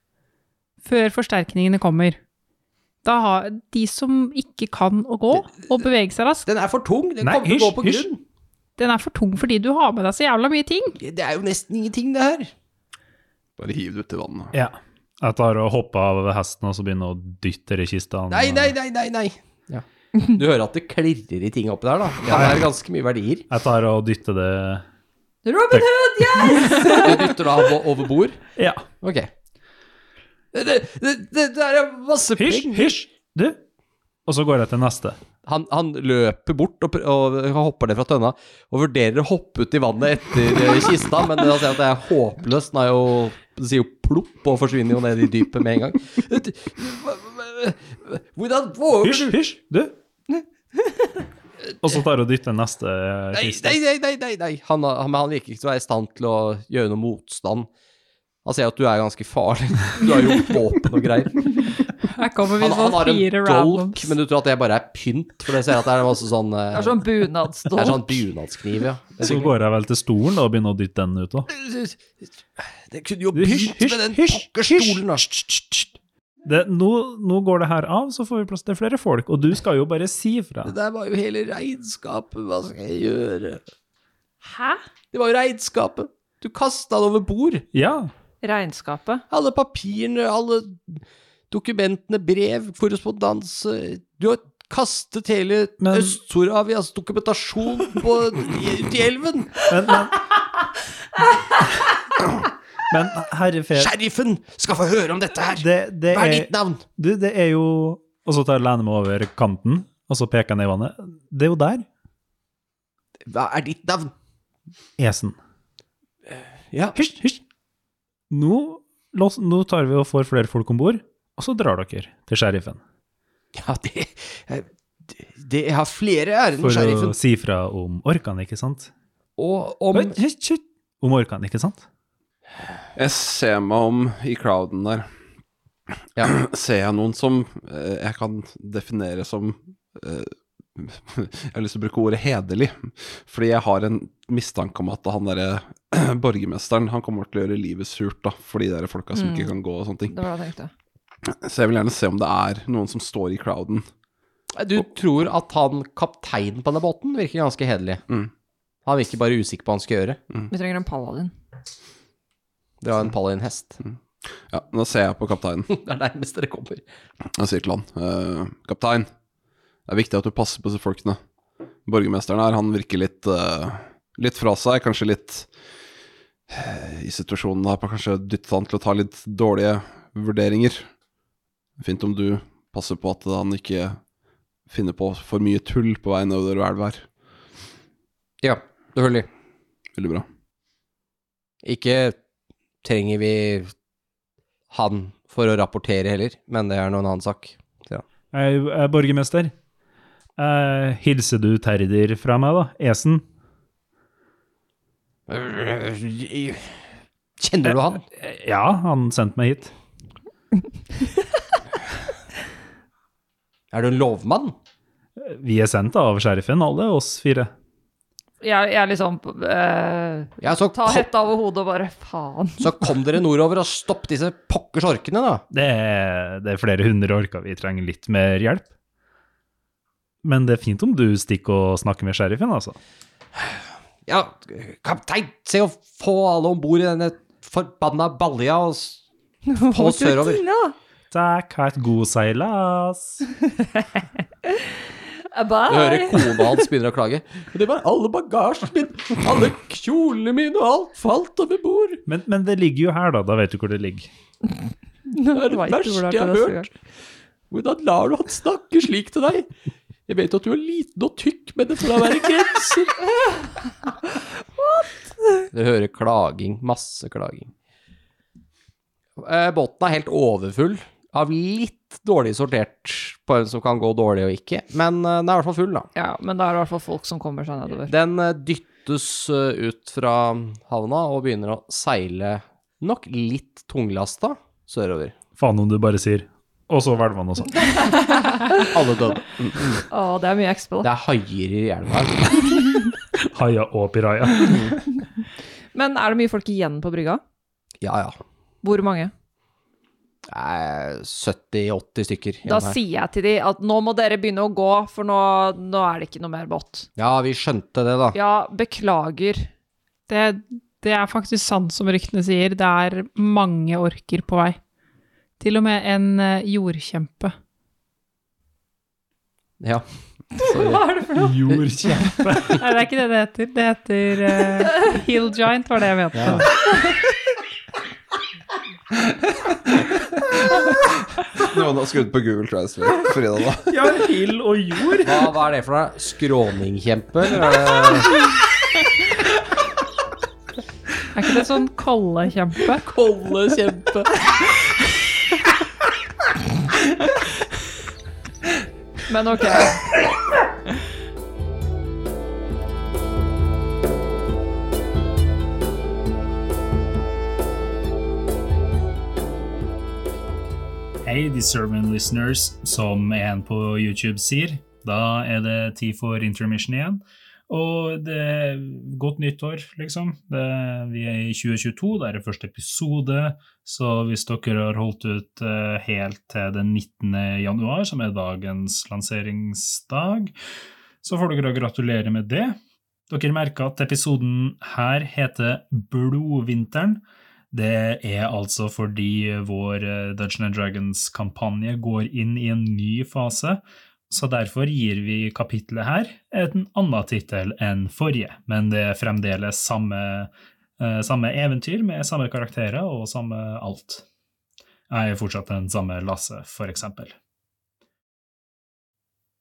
E: før forsterkningene kommer, da har de som ikke kan å gå og bevege seg raskt,
A: Den er for tung! Den
B: Nei,
A: kommer til å
B: hysj,
A: gå på
B: hysj.
A: grunn!
E: den er for tung fordi du har med deg så jævla mye ting.
A: Det er jo nesten ingenting, det her.
D: Bare hiv det ut i vannet.
B: Ja. Jeg tar og hopper av hesten og så begynner å dytte i kista.
A: Nei, nei, nei, nei, nei! Ja. Du hører at det klirrer i ting oppi der, da. Ja, det er ganske mye verdier.
B: Jeg tar og dytter det
C: Robin Hood!
A: Du dytter da bo- over bord?
B: Ja.
A: Ok. Det, det, det, det er masse
B: Hysj,
A: penger.
B: hysj, du. Og så går jeg til neste.
A: Han, han løper bort og, pr- og hopper ned fra tønna og vurderer å hoppe ut i vannet etter eh, kista, men han ser at det er håpløst. Den er jo, den sier jo plopp og forsvinner jo ned i dypet med en gang. Det- hva- hva- hva- Hvordan våger
B: Hysj,
A: du
B: hysj, du. Og så tar jeg og dytter neste eh,
A: Nei,
B: kiste.
A: nei, nei, nei, nei, nei. Han, har- han, men han virker ikke til å være i stand til å gjøre noe motstand. Han ser at du er ganske farlig. Du har jo våpen og greier.
E: Her kommer vi
A: Han,
E: sånn
A: han har en
E: fire
A: dolk,
E: randoms.
A: men du tror at det bare er pynt, for det ser jeg at det er masse sånn eh,
C: Det er sånn
A: Det er
C: bunadstål.
A: sånn bunadskniv, ja. Det,
B: Så går jeg vel til stolen da, og begynner å dytte den ut òg.
A: det kunne jo
B: Du, hysj,
A: pynt med den
B: hysj, hysj,
A: pokker stolen, da.
B: Nå, nå går det her av, så får vi plass til flere folk. Og du skal jo bare si fra.
A: Det der var jo hele regnskapet, hva skal jeg gjøre?
C: Hæ?
A: Det var jo regnskapet. Du kasta det over bord.
B: Ja.
C: Regnskapet?
A: Alle papirene, alle dokumentene, brev, korrespondanse. Du har kastet hele
B: Men-
A: Øst-Soravias dokumentasjon på, ut i elven!
B: Men, men, men herre fe...
A: Sheriffen skal få høre om dette her!
B: Det, det,
A: Hva er
B: er,
A: ditt navn?
B: du, det er jo Og så tar jeg lener meg over kanten, og så peker jeg ned i vannet. Det er jo der.
A: Hva er ditt navn?
B: Esen.
A: Ja.
B: Hysj, hysj. Nå, lås- nå tar vi og får flere folk om bord, og så drar dere til sheriffen.
A: Ja, det, eh, det, det Jeg har flere ærend,
B: For å
A: sheriffen.
B: si fra om orkene, ikke sant?
A: Og om
B: Oi, hysj, hysj. Om orkene, ikke sant?
D: Jeg ser meg om i crowden der.
A: Ja.
D: Ser jeg noen som eh, jeg kan definere som eh, Jeg har lyst til å bruke ordet hederlig, fordi jeg har en mistanke om at han derre borgermesteren Han kommer til å gjøre livet surt da, for de der folka som ikke kan gå og sånne ting.
C: Det var det jeg tenkte.
D: Så jeg vil gjerne se om det er noen som står i crowden.
A: Du tror at han kapteinen på denne båten virker ganske hederlig.
D: Mm.
A: Han virker bare usikker på hva han skal gjøre.
C: Vi trenger en paladin.
A: Dere har en paladin-hest.
D: Ja, Nå ser jeg på kapteinen.
A: Det er nærmest dere kommer.
D: Jeg sier til han eh, Kaptein, det er viktig at du passer på disse folkene. Borgermesteren her, han virker litt eh, Litt fra seg, kanskje litt eh, I situasjonen her, på kanskje dyttet han til å ta litt dårlige vurderinger. Fint om du passer på at han ikke finner på for mye tull på vei nedover elva her.
A: Ja, selvfølgelig.
D: Veldig bra.
A: Ikke trenger vi han for å rapportere heller, men det er nå en annen sak.
B: Jeg er borgermester. Eh, hilser du Terdir fra meg, da? Esen?
A: Kjenner du han?
B: Eh, Ja, han sendte meg hit.
A: Er du en lovmann?
B: Eh, Vi er sendt av sheriffen, alle oss fire.
C: Jeg, jeg er litt sånn eh,
A: Ja, så,
C: Ta
A: kom,
C: hetta over hodet og bare faen.
A: så kom dere nordover og stopp disse pokkers orkene, da.
B: Det er, det er flere hundre orker, vi trenger litt mer hjelp. Men det er fint om du stikker og snakker med sheriffen, altså.
A: Ja, kaptein, se å få alle om bord i denne forbanna balja og s- på sørover.
B: Takk, ha et god seilas.
A: Du hører
C: Bye.
A: kona hans begynner å klage. Det var alle bagasjen min, alle kjolene mine, og alt falt over bord.
B: Men, men det ligger jo her, da. Da vet du hvor det ligger.
C: Det
A: er det verste jeg har hørt. Hvordan lar du han snakke slik til deg? Jeg vet at du er liten og tykk, men det får da være grenser. Dere hører klaging. Masse klaging. Eh, Båten er helt overfull av litt dårlig sortert på hvem som kan gå dårlig og ikke, men eh, den er i hvert fall full, da.
C: Ja, men det er i hvert fall folk som kommer seg nedover.
A: Den eh, dyttes eh, ut fra havna og begynner å seile nok litt tunglasta sørover.
B: Faen om du bare sier Og så hvelver han også.
A: Alle døde.
C: Å, det er mye XP, da.
A: Det er haier i elva her.
B: Haia og piraja.
C: Men er det mye folk igjen på brygga?
A: Ja, ja.
C: Hvor mange?
A: Det er 70-80 stykker.
C: Da
A: igjen her.
C: sier jeg til de at nå må dere begynne å gå, for nå, nå er det ikke noe mer båt.
A: Ja, vi skjønte det, da.
C: Ja, beklager.
E: Det, det er faktisk sant som ryktene sier, det er mange orker på vei. Til og med en eh, jordkjempe.
A: Ja.
E: Hva er det for noe?
B: Jordkjempe.
E: Nei, det er ikke det det heter. Det heter eh, Hill Giant, var det jeg mente.
D: Noen har skrudd på Google Translate for da.
B: Ja, hild og jord.
A: Hva, hva er det for noe? Eh, Skråningkjempe? eller er det-
E: Er ikke det sånn kollekjempe?
C: Kollekjempe. Men ok.
F: Hei, Disturbing Listeners, som en på YouTube sier. Da er det tid for intermission igjen. Og det er godt nyttår, liksom. Det, vi er i 2022, det er første episode. Så hvis dere har holdt ut eh, helt til den 19. januar, som er dagens lanseringsdag, så får dere gratulere med det. Dere merker at episoden her heter Blodvinteren. Det er altså fordi vår eh, Dungeons and Dragons-kampanje går inn i en ny fase,
B: Så derfor gir vi kapitlet her en annen tittel enn forrige, men det er fremdeles samme, eh, samme eventyr med samme karakterer og samme alt. Jeg er fortsatt den samme Lasse, for eksempel.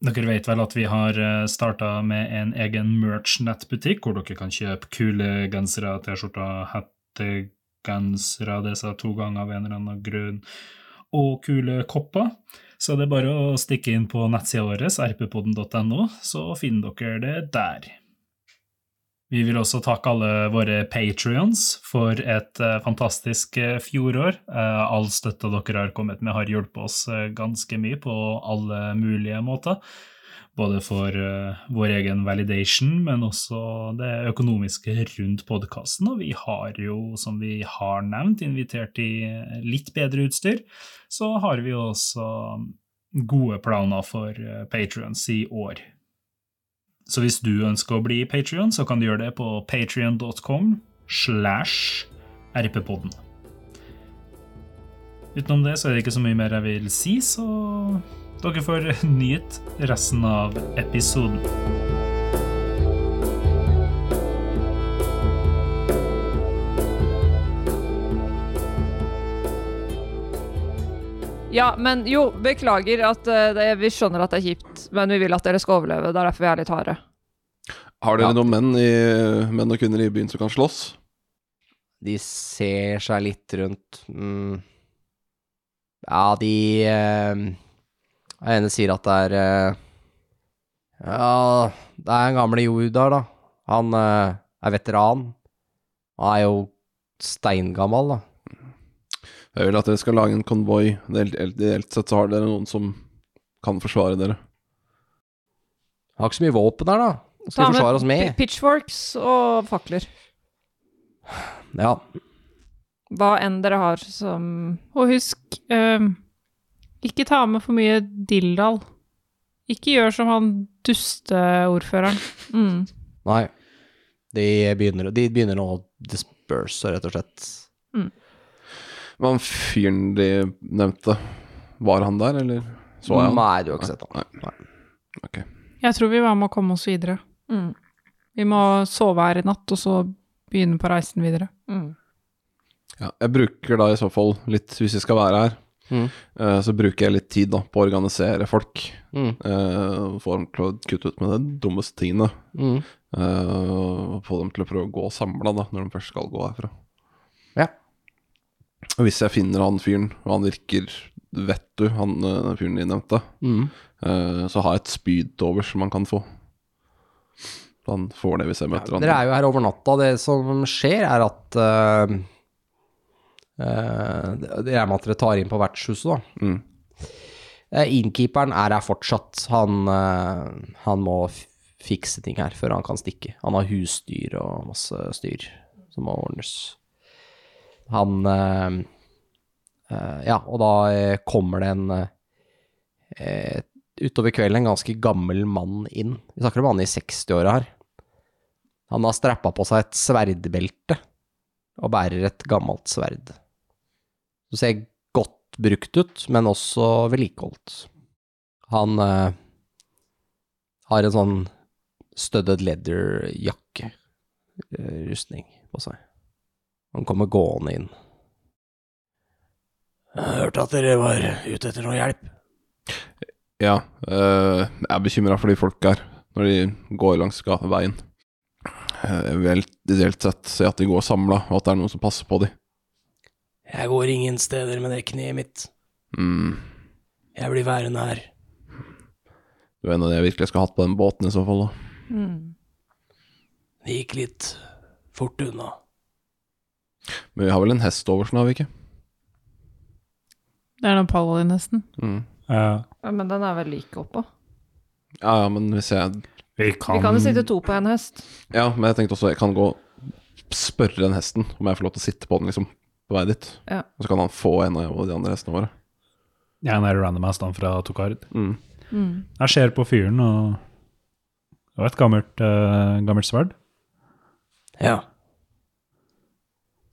B: Dere vet vel at vi har starta med en egen merch-nettbutikk, hvor dere kan kjøpe kule gensere, T-skjorter, hettegensere, det sa jeg to ganger av en eller annen grunn, og kule kopper. Så det er bare å stikke inn på nettsida vår, rppodden.no, så finner dere det der. Vi vil også takke alle våre patrions for et eh, fantastisk eh, fjorår. Eh, all støtta dere har kommet med, har hjulpet oss eh, ganske mye på alle mulige måter. Både for eh, vår egen validation, men også det økonomiske rundt podkasten. Og vi har jo, som vi har nevnt, invitert i eh, litt bedre utstyr. Så har vi jo også gode planer for eh, patrons i år. Så hvis du ønsker å bli Patrion, så kan du gjøre det på patrion.com slash rppodden. Utenom det så er det ikke så mye mer jeg vil si, så dere får nytt resten av episoden.
C: Ja, men jo, beklager at eh, det, vi skjønner at det er kjipt, men vi vil at dere skal overleve. Det er derfor vi er litt harde.
D: Har dere
A: Ja.
D: noen menn, i, menn og kvinner i byen som kan slåss?
A: De ser seg litt rundt. Mm. Ja, de eh, Den ene sier at det er eh, Ja, det er den gamle Jordar, da. Han eh, er veteran. Han er jo steingammal, da.
D: Jeg vil at dere skal lage en konvoi. Ideelt ideelt sett så har dere noen som kan forsvare dere.
A: Han har ikke så mye våpen her, da. Hva Skal vi forsvare oss
C: pi-
A: med?
C: pitchforks og fakler.
A: Ja.
C: Hva enn dere har som
E: Og husk, øhm, ikke ta med for mye dilldall. Ikke gjør som han dusteordføreren.
C: mm.
A: Nei. De begynner, de begynner nå å disperse, rett og slett.
D: Men han fyren de nevnte, var han der, eller så jeg han?
A: Nei, du har ikke sett han. Nei.
D: Ok.
E: Jeg tror vi var med å komme oss videre.
C: Mm.
E: Vi må sove her i natt, og så begynne på reisen videre.
C: Mm.
D: Ja, jeg bruker da i så fall litt, hvis jeg skal være her,
A: Mm.
D: eh, så bruker jeg litt tid da på å organisere folk.
A: Mm.
D: Uh, få dem til å kutte ut med de dummeste tingene.
A: Mm.
D: eh, og få dem til å prøve å gå samla, da, når de først skal gå herfra.
A: Ja.
D: Og hvis jeg finner han fyren, og han virker vettu, han eh, den fyren de nevnte,
A: Mm.
D: eh, så har jeg et spyd over som han kan få. Han får det hvis jeg møter
A: Dere
D: han.
A: er jo her over natta. Det som skjer, er at eh, eh, Det er med at dere tar inn på vertshuset, da.
D: Mm.
A: Eh, innkeeperen er her fortsatt. Han, eh, han må f fikse ting her før han kan stikke. Han har husdyr og masse styr som må ordnes. Han eh, eh, Ja, og da eh, kommer det en eh, Utover kvelden en ganske gammel mann inn. Vi snakker om han i 60-åra her. Han har strappa på seg et sverdbelte og bærer et gammelt sverd. Du ser godt brukt ut, men også vedlikeholdt. Han eh, har en sånn studded leather-jakke-rustning eh, på seg. Han kommer gående inn. Jeg hørte at dere var ute etter noe hjelp.
D: Ja, eh, jeg er bekymra for de folka her når de går langs ga- veien. Eh, Jeg vil ideelt sett se at de går samla, og at det er noen som passer på de.
A: Jeg går ingen steder med det kneet mitt.
D: Mm.
A: Jeg blir værende her.
D: Du er en av de jeg virkelig skal ha hatt på den båten, i så fall. da.
C: Mm.
A: Det gikk litt fort unna.
D: Men vi har vel en hest over, sånn har vi ikke?
E: Det er den paladin nesten.
D: Mm.
B: Ja,
C: Ja, Men den er vel like oppå.
D: Ja, ja, men hvis jeg
B: vi
C: Vi kan jo sitte to på en hest.
D: Ja, men jeg tenkte også jeg kan gå og spørre den hesten om jeg får lov til å sitte på den, liksom, på vei dit.
C: Ja.
D: Og så kan han få en av de andre hestene våre.
B: Ja, den er random hestene fra Tokard.
D: Mm.
C: Mm.
B: Jeg ser på fyren, og det var et gammelt, eh, gammelt sverd.
A: Ja.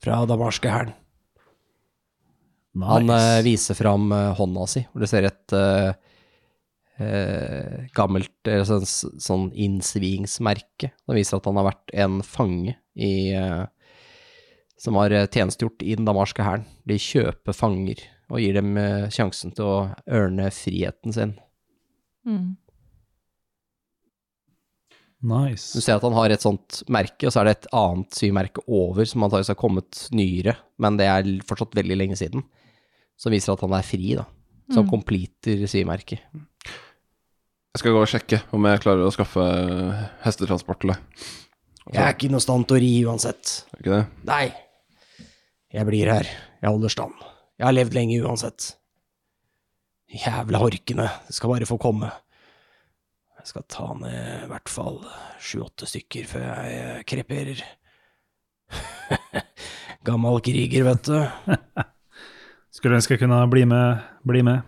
A: Fra damarske hæren.
B: Nice.
A: Han eh, viser fram eh, hånda si, hvor du ser et eh, eh, gammelt eh, sånn, sånn innsvingsmerke. Det viser at han har vært en fange i eh, som har eh, tjenestegjort i den damarske hæren. De kjøper fanger og gir dem eh, sjansen til å ørne friheten sin.
C: Mm.
A: Du
B: Nice.
A: ser at han har et sånt merke, og så er det et annet symerke over som antakeligvis har kommet nyere, men det er l- fortsatt veldig lenge siden, som viser at han er fri, da. Som
C: Mm.
A: completer symerket.
D: Jeg skal gå og sjekke om jeg klarer å skaffe eh, hestetransport til deg.
A: Jeg er ikke noe stand til å ri uansett.
D: Er ikke det?
A: Nei. Jeg blir her. Jeg holder stand. Jeg har levd lenge uansett. Jævla horkene. Det skal bare få komme. Jeg skal ta ned i hvert fall sju-åtte stykker før jeg eh, kreperer. Gammal kriger, vet du.
B: Skulle ønske jeg kunne bli med. Bli med.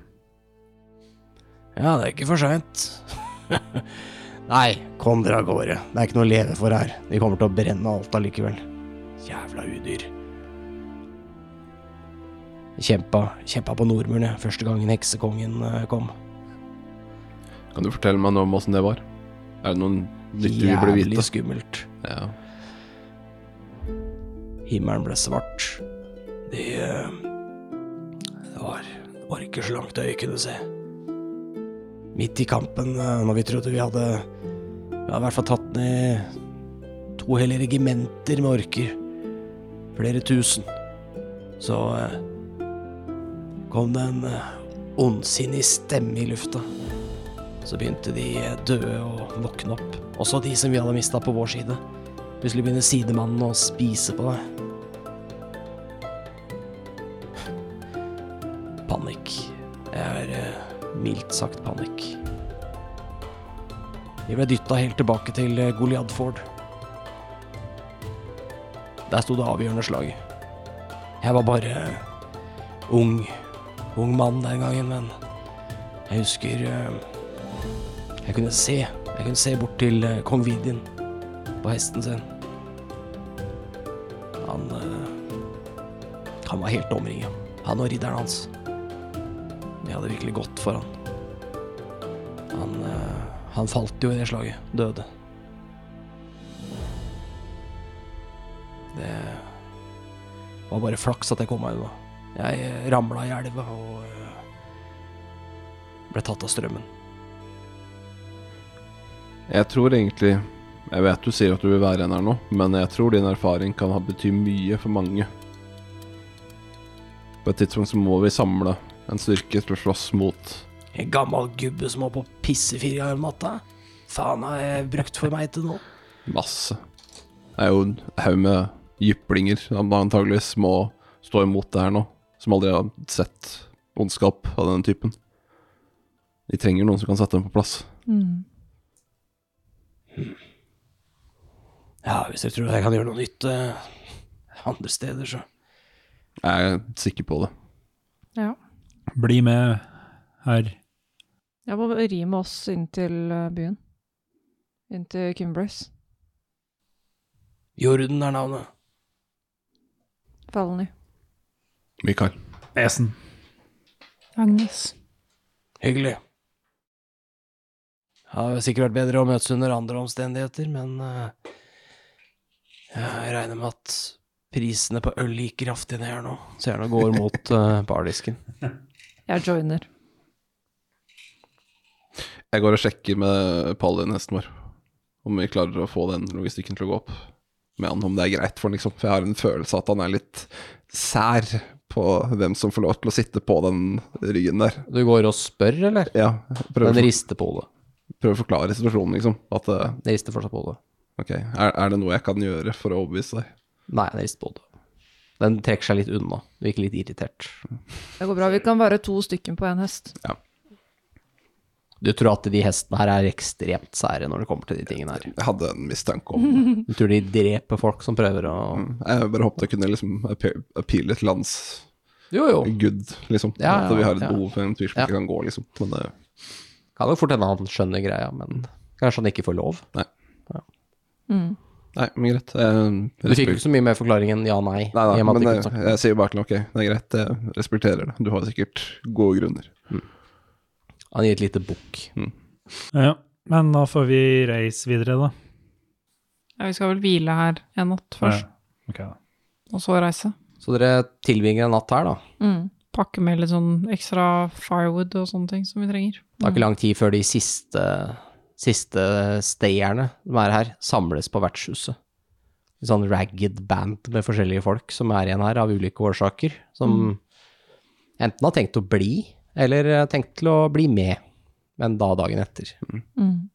A: Ja, det er ikke for seint. Nei, kom dere av gårde. Det er ikke noe å leve for her. De kommer til å brenne alt allikevel. Jævla udyr. Jeg Kjempa, kjempa på Nordmuren jeg, første gangen heksekongen eh, kom.
D: Kan du fortelle meg noe om åssen det var? Er det noen nytt vi burde
A: Jævlig
D: vite?
A: skummelt.
D: Ja.
A: Himmelen ble svart. De eh, Det var det var ikke så langt øyet kunne se. Midt i kampen, eh, når vi trodde vi hadde Vi hadde i hvert fall tatt ned to hele regimenter med orker. Flere tusen. Så eh, kom det en eh, ondsinnig stemme i lufta. Så begynte de eh, døde å våkne opp. Også de som vi hadde mista på vår side. Plutselig begynner sidemannen å spise på deg. Panikk. Det er eh, mildt sagt panikk. Vi ble dytta helt tilbake til eh, Goliadford. Der sto det avgjørende slaget. Jeg var bare eh, ung ung mann den gangen, men jeg husker eh, Jeg kunne se. Jeg kunne se bort til eh, kong Vidin på hesten sin. Han eh, Han var helt omringa. Han og ridderen hans. De hadde virkelig gått for han. Han, eh, han falt jo i det slaget. Døde. Det var bare flaks at jeg kom meg unna. Jeg eh, ramla i elva og eh, ble tatt av strømmen.
D: Jeg tror egentlig Jeg vet du sier at du vil være en her nå, men jeg tror din erfaring kan ha bety mye for mange. På et tidspunkt så må vi samle en styrke til å slåss mot
A: En gammel gubbe som må på pisse fire ganger om natta? Faen har jeg brukt for meg til nå?
D: masse. Det er jo en haug med jyplinger som antageligvis må stå imot det her nå, som aldri har sett ondskap av den typen. De trenger noen som kan sette dem på plass.
C: Hmm.
E: Mm.
A: Ja, hvis dere tror jeg kan gjøre noe nytt eh, andre steder, så
D: Jeg er sikker på det.
C: Ja.
B: Bli med, herr.
C: Jeg må ri med oss inn til eh, byen. Inn til Kimbris.
A: Jorden er navnet.
C: Falny.
D: Mikael.
B: Esen.
E: Agnes.
A: Hyggelig. Ja, det hadde sikkert vært bedre å møtes under andre omstendigheter, men eh, jeg regner med at prisene på øl gikk kraftig ned her nå. Så gjerne går mot eh, bardisken.
C: Jeg joiner.
D: Jeg går og sjekker med Pallin, hesten vår, om vi klarer å få den logistikken til å gå opp med han, om det er greit for han, liksom. For jeg har en følelse av at han er litt sær på hvem som får lov til å sitte på den ryggen der.
A: Du går og spør, eller?
D: Ja, prøver,
A: Den
D: å-
A: rister på hodet.
D: prøver å forklare situasjonen, liksom. At eh,
A: Den rister fortsatt på hodet.
D: ok, er, er det noe jeg kan gjøre for å overbevise deg?
A: Nei, den rister på hodet. Den trekker seg litt unna. Du virker litt irritert.
C: Det går bra. Vi kan være to stykken på én hest.
A: Du tror at de hestene her er ekstremt sære når det kommer til de tingene her.
D: Jeg hadde en mistanke om det.
A: Du tror de dreper folk som prøver å
D: Jeg bare håpet jeg kunne liksom appe- appeale til hans
A: Jo, jo.
D: good, liksom.
A: Ja, ja,
D: at vi har et
A: ja.
D: behov for en fyr som
A: Ja.
D: ikke kan gå, liksom. Men det
A: Kan jo fort hende han skjønner greia, men kanskje han ikke får lov.
D: Nei, men greit. jeg
A: Du fikk jo ikke så mye mer forklaring enn ja, nei.
D: Nei
A: i
D: da,
A: og med at
D: men eh,
A: du
D: jeg,
A: kunne snakke.
D: jeg sier bare til ham ok, det er greit, jeg respekterer det. Du har sikkert gode grunner.
A: Han gir et lite bukk.
D: Mm.
B: Ja, men da får vi reise videre, da.
E: Ja, vi skal vel hvile her en natt først,
B: Ja. Ok, da.
E: og så reise.
A: Så dere tilbringer en natt her, da.
C: Mm.
E: Pakke med litt sånn ekstra firewood og sånne ting som vi trenger.
A: Det er ikke lang tid før de siste, siste stayerne som er her, samles på vertshuset. En sånn ragged band med forskjellige folk som er igjen her av ulike årsaker, som enten har tenkt å bli, eller har tenkt til å bli med, men da dagen etter.
C: Mm.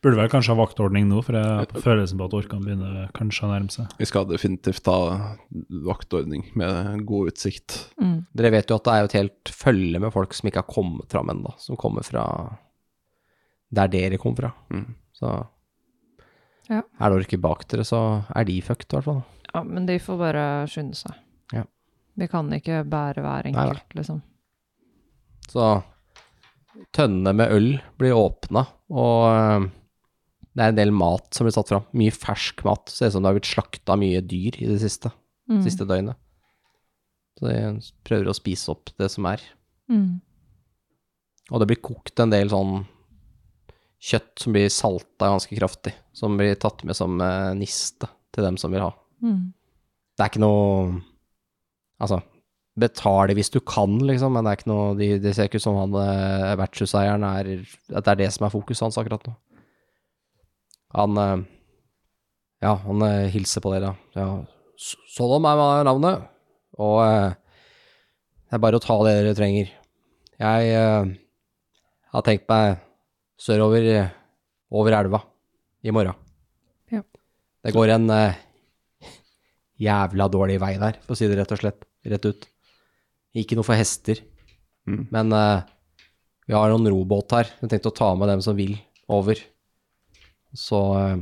B: Burde vel kanskje ha vaktordning nå, for jeg har på følelsen på at orkene begynner kanskje å nærme seg.
D: Vi skal definitivt ha vaktordning med god utsikt.
C: Mm.
A: Dere vet jo at det er jo et helt følge med folk som ikke har kommet fram ennå, som kommer fra der dere kom fra.
D: Mm.
A: Så
C: Ja.
A: er det orker bak dere, så er de fucked, i hvert fall.
C: ja, men de får bare skynde seg.
A: Ja.
C: Vi kan ikke bære hver
A: nei.
C: enkelt, liksom.
A: Så tønnene med øl blir åpna, og eh, det er en del mat som blir satt fram. Mye fersk mat. Ser ut som det har blitt slakta mye dyr i det siste,
C: Mm.
A: siste døgnet. Så de prøver å spise opp det som er.
C: Mm.
A: Og det blir kokt en del sånn kjøtt som blir salta ganske kraftig, som blir tatt med som eh, niste til dem som vil ha.
C: Mm.
A: Det er ikke noe Altså, betale hvis du kan, liksom, men det er ikke noe Det de ser ikke ut som han eh, vertshuseieren er At det er det som er fokuset hans akkurat nå. Han eh, Ja, han eh, hilser på dere. Ja, S- Sodom er ma- navnet, og eh, det er bare å ta det dere trenger. Jeg eh, har tenkt meg sørover eh, over elva i morgen.
C: Ja.
A: Det går en eh, jævla dårlig vei der, for å si det rett og slett. Rett ut. Ikke noe for hester.
D: Mm.
A: Men eh, vi har noen robåt her. Jeg tenkte å ta med dem som vil, over. Så eh,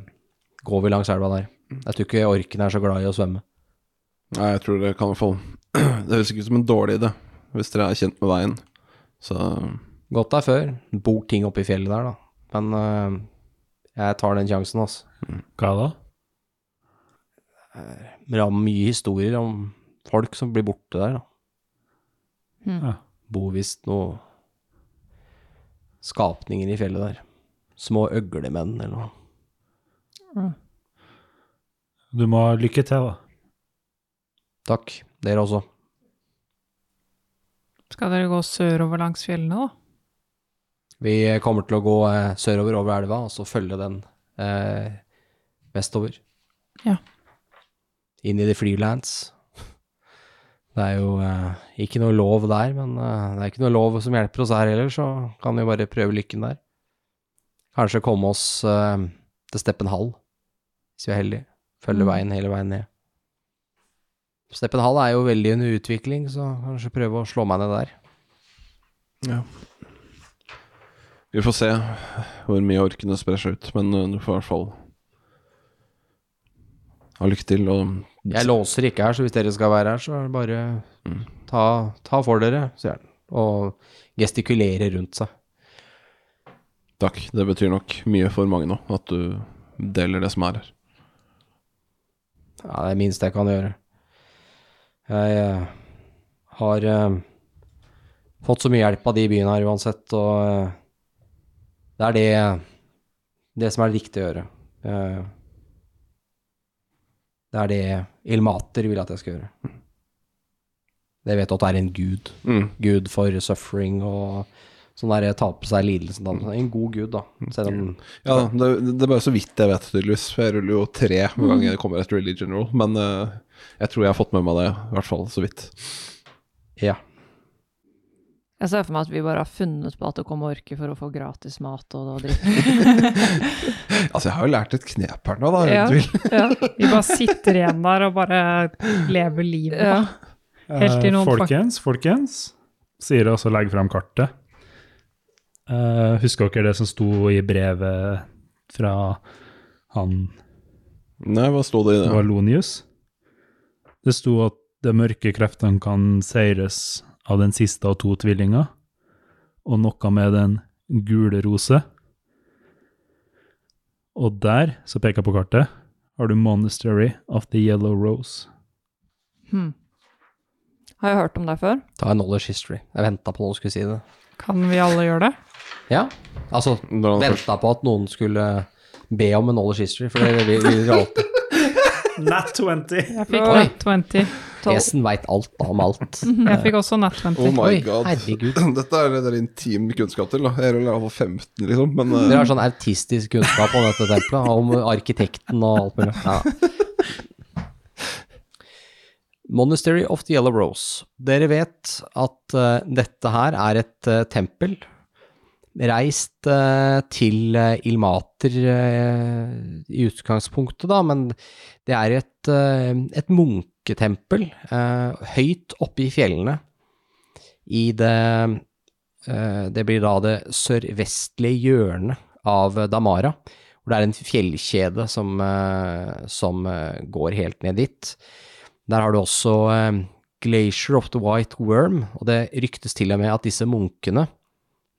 A: går vi langs elva der. Jeg tror ikke orkene er så glad i å svømme.
D: Nei, jeg tror det kan i hvert fall Det høres ikke ut som en dårlig idé, hvis dere er kjent med veien. Så
A: Gått der før. Bor ting oppi fjellet der, da. Men eh, jeg tar den sjansen, altså.
B: Hva da?
A: Det er mye historier om folk som blir borte der, da.
C: Mm.
B: Ja.
A: Bor visst noe skapninger i fjellet der. Små øglemenn eller noe.
B: Du må ha lykke til, da.
A: Takk. Dere også.
E: Skal dere gå sørover langs fjellene, da?
A: Vi kommer til å gå eh, sørover over elva, og så følge den eh, vestover.
E: Ja.
A: Inn i the freelance. Det er jo eh, ikke noe lov der, men eh, det er ikke noe lov som hjelper oss her heller, så kan vi bare prøve lykken der. Kanskje komme oss eh, til Steppenhall, hvis vi er heldige. Følge
E: Mm.
A: veien hele veien ned. Steppenhall er jo veldig under utvikling, så kanskje prøve å slå meg ned der.
D: vi får se hvor mye orkene sprer seg ut, men eh, du får i hvert fall ha lykke til, og
A: Jeg låser ikke her, så hvis dere skal være her, så er det bare ta, ta for dere, sier han. Og gestikulere rundt seg.
D: takk. Det betyr nok mye for mange nå, at du deler det som er her.
A: Ja, det er det minste jeg kan gjøre. Jeg eh, har eh, fått så mye hjelp av de i byen her uansett, og eh, det er det, det som er det riktige å gjøre. Eh, det er det Ilmater vil at jeg skal gjøre. Det vet du at det er en gud.
D: Mm.
A: gud for suffering og sånn der ta på seg lidelsen. da. En god gud, da. Selv om
D: Ja, det, det er bare så vidt jeg vet, tydeligvis. For jeg ruller jo tre hver gang jeg kommer etter religion roll, men eh, jeg tror jeg har fått med meg det, i hvert fall så vidt.
A: Ja.
C: Jeg ser for meg at vi bare har funnet på at det kommer orker for å få gratis mat og, og drikke.
D: Altså, jeg har jo lært et knep her nå, da,
C: Ja.
D: uten tvil.
C: ja.
E: Vi bare sitter igjen der og bare lever livet.
C: Ja.
E: Helt til
B: Eh,
E: noen fak-
B: folkens, folkens, sier også legg fram kartet. Eh, husker dere det som sto i brevet fra han
D: Nei, hva sto det i det?
B: Valonius? Det sto at de mørke kreftene kan seires av den siste av to tvillinger, og noe med den gule rose. Og der, så peker jeg på kartet, har du Monastery of the Yellow Rose.
C: Hmm. Har jeg hørt om deg før?
A: ta en knowledge history. Jeg venta på noen skulle si det.
E: Kan vi alle gjøre det?
A: Ja, altså
D: Når han først
A: venta på at noen skulle be om en knowledge history, for det- vi, vi valgte
F: Nat 20.
E: Jeg fikk
A: Oi.
E: nat 20.
A: Esen veit alt om alt.
E: Jeg fikk også nat 20.
D: Oh my
A: Oi,
D: god.
A: herregud.
D: Dette er det der intim kunnskap til. da. Jeg ruller iallfall 15, liksom. Men eh,
A: Dere har sånn autistisk kunnskap om dette tempelet, om arkitekten og alt mulig. Ja. Monastery of the Yellow Rose. Dere vet at eh, dette her er et eh, tempel reist eh, til eh, Ilmater eh, i utgangspunktet, da, men det er et, eh, et munketempel eh, høyt oppe i fjellene i det Eh, Det blir da det sørvestlige hjørnet av Damara, hvor det er en fjellkjede som, eh, som eh, går helt ned dit. Der har du også eh, Glacier of the White Worm, og det ryktes til og med at disse munkene,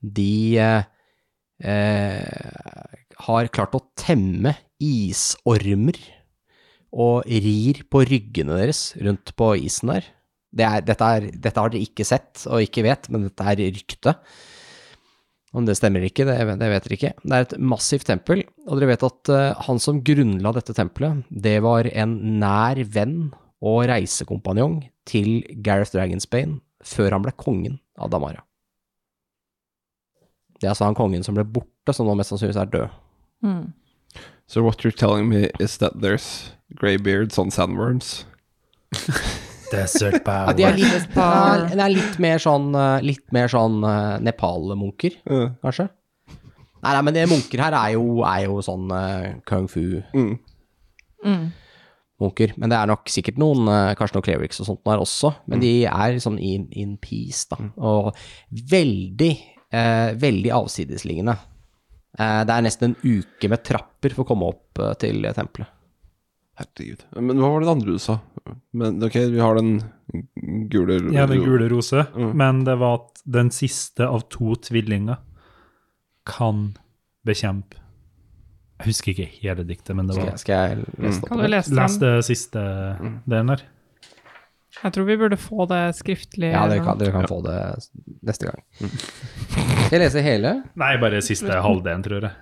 A: de eh, eh, har klart å temme isormer og rir på ryggene deres rundt på isen der. Det er, dette, er, dette har dere ikke sett og ikke vet, men dette er rykte. Om det stemmer eller ikke, det, det vet dere ikke. Det er et massivt tempel, og dere vet at eh, han som grunnla dette tempelet, det var en nær venn og reisekompanjong til Gareth Dragonsbane før han ble kongen av Damara. Det er altså han kongen som ble borte, som nå mest sannsynligvis er død.
C: Mm.
D: So what you're telling me is that there's greybeards on sandworms?
F: Desert
A: Ja, de er
F: Power.
A: litt, det er, det er litt mer sånn, eh, litt mer sånn eh, Nepal-munker.
D: Eh,
A: kanskje? Nei, nei, men det munker her er jo, er jo sånn eh, kung fu-munker.
D: mm.
C: Mm.
A: Men det er nok sikkert noen, eh, kanskje noen clerics og sånt der også,
D: Mm.
A: men de er sånn in, in peace, da. Og veldig, eh, veldig avsidesliggende. Eh, det er nesten en uke med trapper for å komme opp eh, til tempelet.
D: Herregud. Men hva var det andre du sa? Men ok, vi har den gule
B: Ja, den gule rose.
D: Mm.
B: Men det var at den siste av to tvillinger kan bekjempe Jeg husker ikke hele diktet, men det
A: Skal,
B: var
A: jeg- skal jeg
D: Mm.
A: lese det opp?
E: Kan du lese
B: Les
E: den?
B: det siste delen her.
E: Jeg tror vi burde få det skriftlig.
A: Ja, dere
E: eller
A: kan,
E: noe.
A: dere kan få det s- neste gang.
D: Mm.
A: Skal jeg lese hele?
B: Nei, bare siste halvdelen, tror jeg.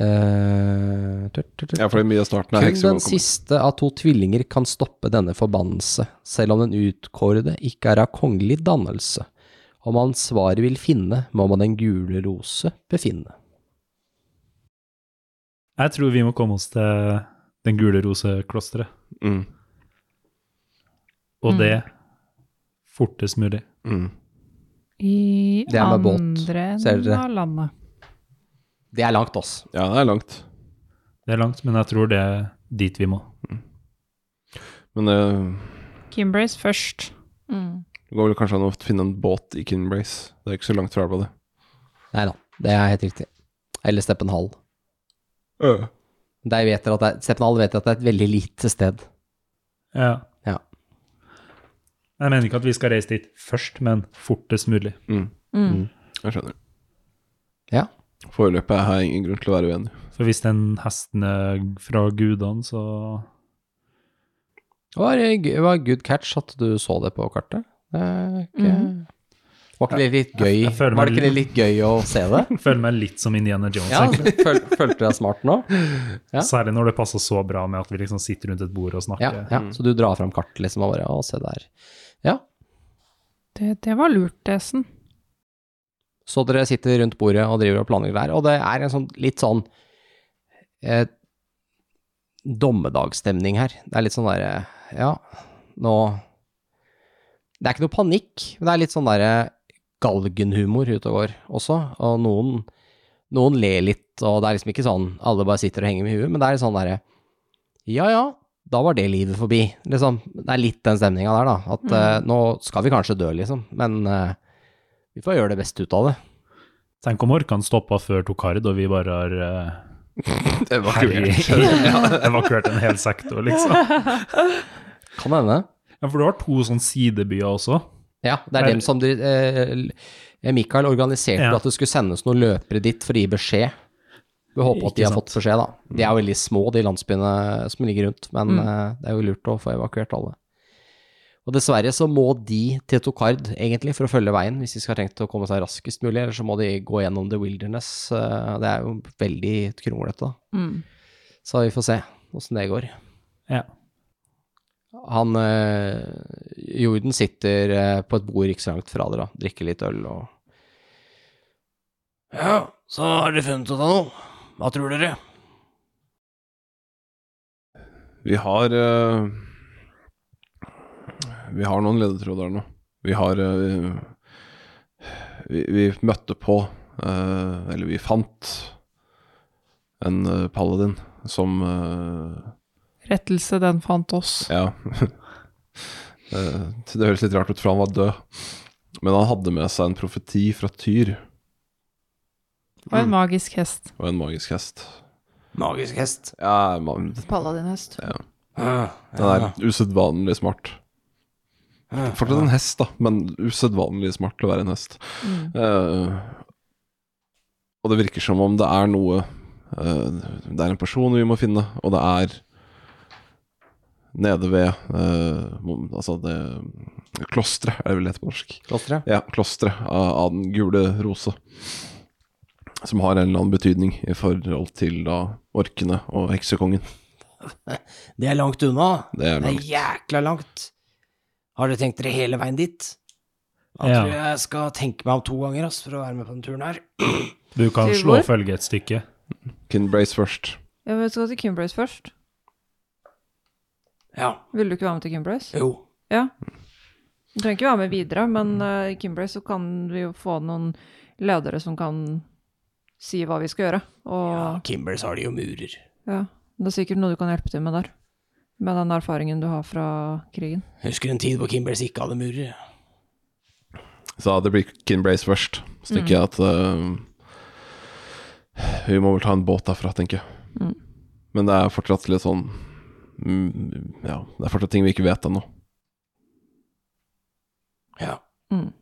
A: Eh, tut, tut, tut.
D: Ja, for mye av starten er
A: Kun den
D: heksekongen.
A: siste av to tvillinger kan stoppe denne forbannelse, selv om den utkårede ikke er av kongelig dannelse. Om man svaret vil finne, må man den gule rose befinne.
B: Jeg tror vi må komme oss til Den gule rose-klosteret,
D: Mm.
B: og
E: Mm.
B: det fortest mulig.
D: Mm.
E: I
A: Det er med båt,
E: andre
A: ser
E: enden
A: dere.
E: av landet.
A: Det er langt, ass.
D: Ja, det er langt.
B: Det er langt, men jeg tror det er dit vi må.
D: Men eh,
E: Kimbrace først.
C: Mm.
D: det går vel kanskje an å finne en båt i Kinbrace. Det er ikke så langt fra på det.
A: Nei da, det er helt riktig. Eller Steppenhall.
D: Uh.
A: Der vet dere at det er, Steppenhall vet dere at det er et veldig lite sted.
B: Ja.
A: Ja.
B: Jeg mener ikke at vi skal reise dit først, men fortest mulig.
D: Mm.
C: Mm.
D: Jeg skjønner.
A: Ja.
D: Foreløpig har jeg ingen grunn til å være uenig.
B: For hvis den hesten er fra gudene, så
A: Det var, eh, det var good catch at du så det på kartet. Det er ikke... Var ikke det litt gøy?
B: jeg føler meg
A: Var det ikke det litt gøy å se det?
B: føler jeg meg litt som Indiana Jones.
A: Ja,
B: egentlig.
A: føl, følte jeg smart nå? ja.
B: Særlig når det passer så bra med at vi liksom sitter rundt et bord og
A: Ja,
B: snakker.
A: ja. Så du drar fram kartet liksom og bare å, se der. Ja.
E: Det, det var lurt, Esen.
A: Så dere sitter rundt bordet og driver og planlegger der, og det er en sånn litt sånn eh, dommedagsstemning her. Det er litt sånn derre Ja, nå Det er ikke noe panikk, men det er litt sånn derre galgenhumor ute og går også, og noen, noen ler litt, og det er liksom ikke sånn alle bare sitter og henger med huet, men det er litt sånn derre Ja ja, da var det livet forbi, liksom. Det er litt den stemninga der, da. At eh, nå skal vi kanskje dø, liksom, men eh, vi får gjøre det beste ut av det.
B: Tenk om orkene stoppa før Tokard, og vi bare har uh,
D: Evakuert.
B: evakuert en hel sektor, liksom.
A: Kan hende.
B: Ja, For du har to sånne sidebyer også.
A: Ja, det er
B: Nei.
A: dem som de, eh, Mikael organiserte
B: Ja.
A: at det skulle sendes noen løpere dit for å gi beskjed. Vi håper at de
B: Ikke
A: har
B: sant. Mm.
A: fått beskjed, da. De er jo veldig små, de landsbyene som ligger rundt, men eh, det er jo lurt å få evakuert alle. Og Og dessverre så må de til Tokard, egentlig, for å følge veien, hvis de skal ha tenkt å komme seg raskest mulig, eller så må de gå gjennom The Wilderness. Eh, Det er jo veldig kronglete, da.
C: Mm.
A: Så vi får se åssen det går.
B: Ja.
A: Han eh, Jorden sitter eh, på et bord ikke så langt fra dere, da. drikker litt øl og Ja, så har dere funnet ut av noe. Hva tror dere?
D: Vi har eh, Vi har noen ledetråder nå. Vi har eh, vi, vi møtte på eh, Eller vi fant en eh, paladin som eh,
E: Rettelse, den fant oss.
D: Ja. Eh, det høres litt rart ut, for han var død. Men han hadde med seg en profeti fra Tyr
E: Og en
A: Mm.
E: magisk hest.
D: og en magisk hest.
A: Magisk hest.
D: Ja, man,
C: Paladinhest.
D: den er usedvanlig smart. Fortsatt en hest, da, men usedvanlig smart til å være en hest.
E: Mm.
D: Eh, og det virker som om det er noe eh, Det er en person vi må finne, og det er nede ved eh, mo- Altså det klosteret, er det vel det heter på norsk.
A: Klosteret?
D: Ja, klosteret av, av den gule rose. Som har en eller annen betydning i forhold til da orkene og heksekongen.
A: Det er langt unna.
D: Det er langt.
A: jækla langt. Har dere tenkt dere hele veien dit?
B: Jeg Ja. tror
A: jeg skal tenke meg om to ganger for å være med på den turen her.
B: Du kan
C: Til
B: slå
C: hvor?
B: følge et stykke.
D: Kinbrace først.
C: Jeg vil skal til Kimbrace først.
A: Ja,
C: Vil du ikke være med til Kimbrace?
A: jo.
C: Ja. Du trenger ikke være med videre, men eh, i Kimbrace så kan vi jo få noen ledere som kan si hva vi skal gjøre. Og
A: Kimbers har de jo murer.
C: ja, det er sikkert noe du kan hjelpe til med der. Med den erfaringen du har fra krigen.
A: Husker en tid hvor Kimbers ikke hadde murer.
D: Så det blir Kinbrace først. Så tenker jeg at eh, Vi må vel ta en båt derfra, tenker jeg.
C: Mm.
D: Men det er fortsatt litt sånn mm, Ja, det er fortsatt ting vi ikke vet ennå.
A: Ja.
C: Mm.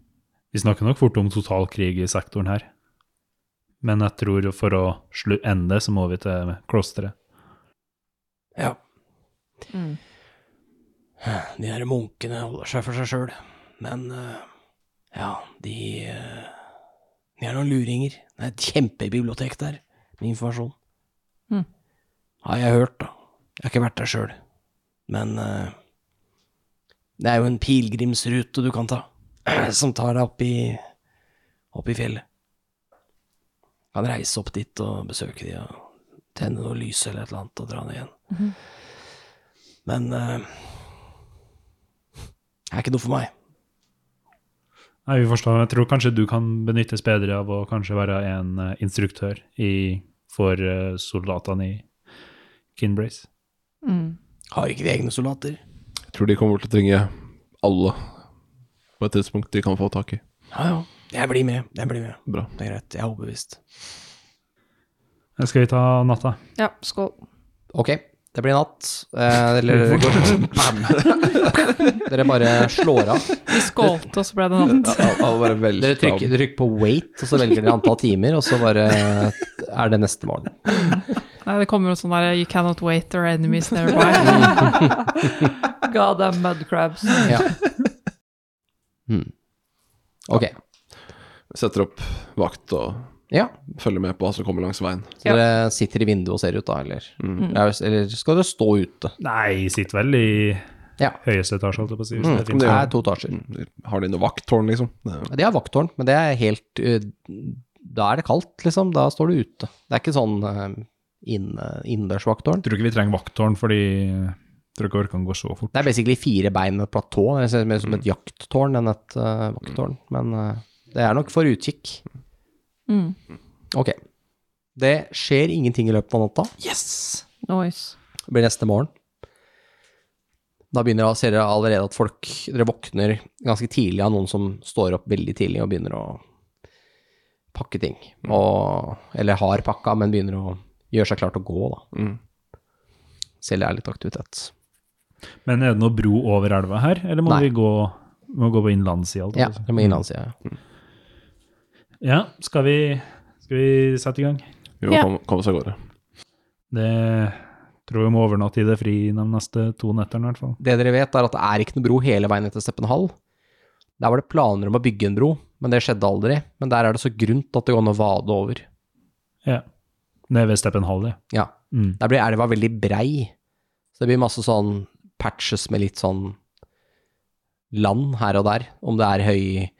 B: Vi snakker nok fort om totalkrig i sektoren her. Men jeg tror for å slu ende det, så må vi til klosteret.
A: ja.
C: Mm.
A: De her munkene holder seg for seg sjøl, men eh, ja, de eh, De er noen luringer. Det er et kjempebibliotek der med informasjon.
C: Mm.
A: Har jeg hørt, da. Jeg har ikke vært der sjøl. Men eh, det er jo en pilegrimsrute du kan ta, som tar deg opp i, opp i fjellet. Kan reise opp dit og besøke de og tenne noe lys eller et eller annet og dra ned igjen. Men eh, det er ikke noe for meg.
B: Nei, vi forstår. Jeg tror kanskje du kan benyttes bedre av å kanskje være en eh, instruktør i, for eh, soldatene i Kinbrace.
C: Mm.
A: Har ikke de egne soldater?
D: Jeg tror de kommer til å trenge alle på et tidspunkt de kan få tak i.
A: Ja, ja. Jeg blir med. Jeg blir med.
D: Bra.
A: Det er greit. Jeg er overbevist.
B: Eh, Skal vi ta natta?
C: Ja, skål.
A: Ok, det blir natt. Eh, eller det går Bam. Dere bare slår av.
E: Vi skålte, og så ble det natt.
D: Alle bare velter
A: Dere trykker, dere trykker på wait, og så velger dere antall timer, og så bare er det neste morgen.
E: Nei, det kommer noe sånn der You cannot wait, or enemies nearby.
C: God damn mudcrabs.
A: Ja. Hmm. Ok.
D: Setter opp vakt og
A: Ja.
D: følger med på hva som kommer langs veien.
A: Så dere sitter i vinduet og ser ut, da, eller? Ja, eller skal dere stå ute?
B: Nei, sitter vel i
A: Ja.
B: høyeste etasje, holdt jeg på å si. hvis
A: Mm,
B: det
A: det
B: finnes.
A: er to etasjer.
D: Har de noe vakttårn, liksom? Det er-
A: De har vakttårn, men det er helt eh, Da er det kaldt, liksom. Da står du ute. Det er ikke sånn eh, inne, innendørs vakttårn.
B: Jeg tror ikke vi trenger vakttårn, fordi jeg tror ikke orkan går så fort.
A: Det er basically fire bein med platå. Det ser mer ut som et jakttårn enn et eh, vakttårn. Men eh, det er nok for utkikk.
C: Mm.
A: Ok. Det skjer ingenting i løpet av natta.
C: Noise.
A: Det blir neste morgen. Da begynner jeg, ser dere allerede at folk Dere våkner ganske tidlig av noen som står opp veldig tidlig og begynner å pakke ting. Og, eller har pakka, men begynner å gjøre seg klar til å gå, da.
D: Mm.
A: Selv det er litt aktivitet.
B: Men er det noe bro over elva her, eller må
A: Nei.
B: vi gå, må gå på innlandssida?
A: Ja, det må innlandssida.
B: ja skal, vi, skal vi sette i gang?
D: Vi må
E: Ja.
D: komme, komme oss av gårde.
B: Det Tror vi må overnatte i det fri de neste to nettene, i hvert fall.
A: Det dere vet, er at det er ikke noe bro hele veien etter Steppenhall. Der var det planer om å bygge en bro, men det skjedde aldri. Men der er det så grunt at det går an å vade over.
B: Ja. Nede ved Steppenhall, ja.
A: Ja.
B: Mm.
A: Der blir elva veldig brei, så det blir masse sånn patches med litt sånn land her og der, om det er høy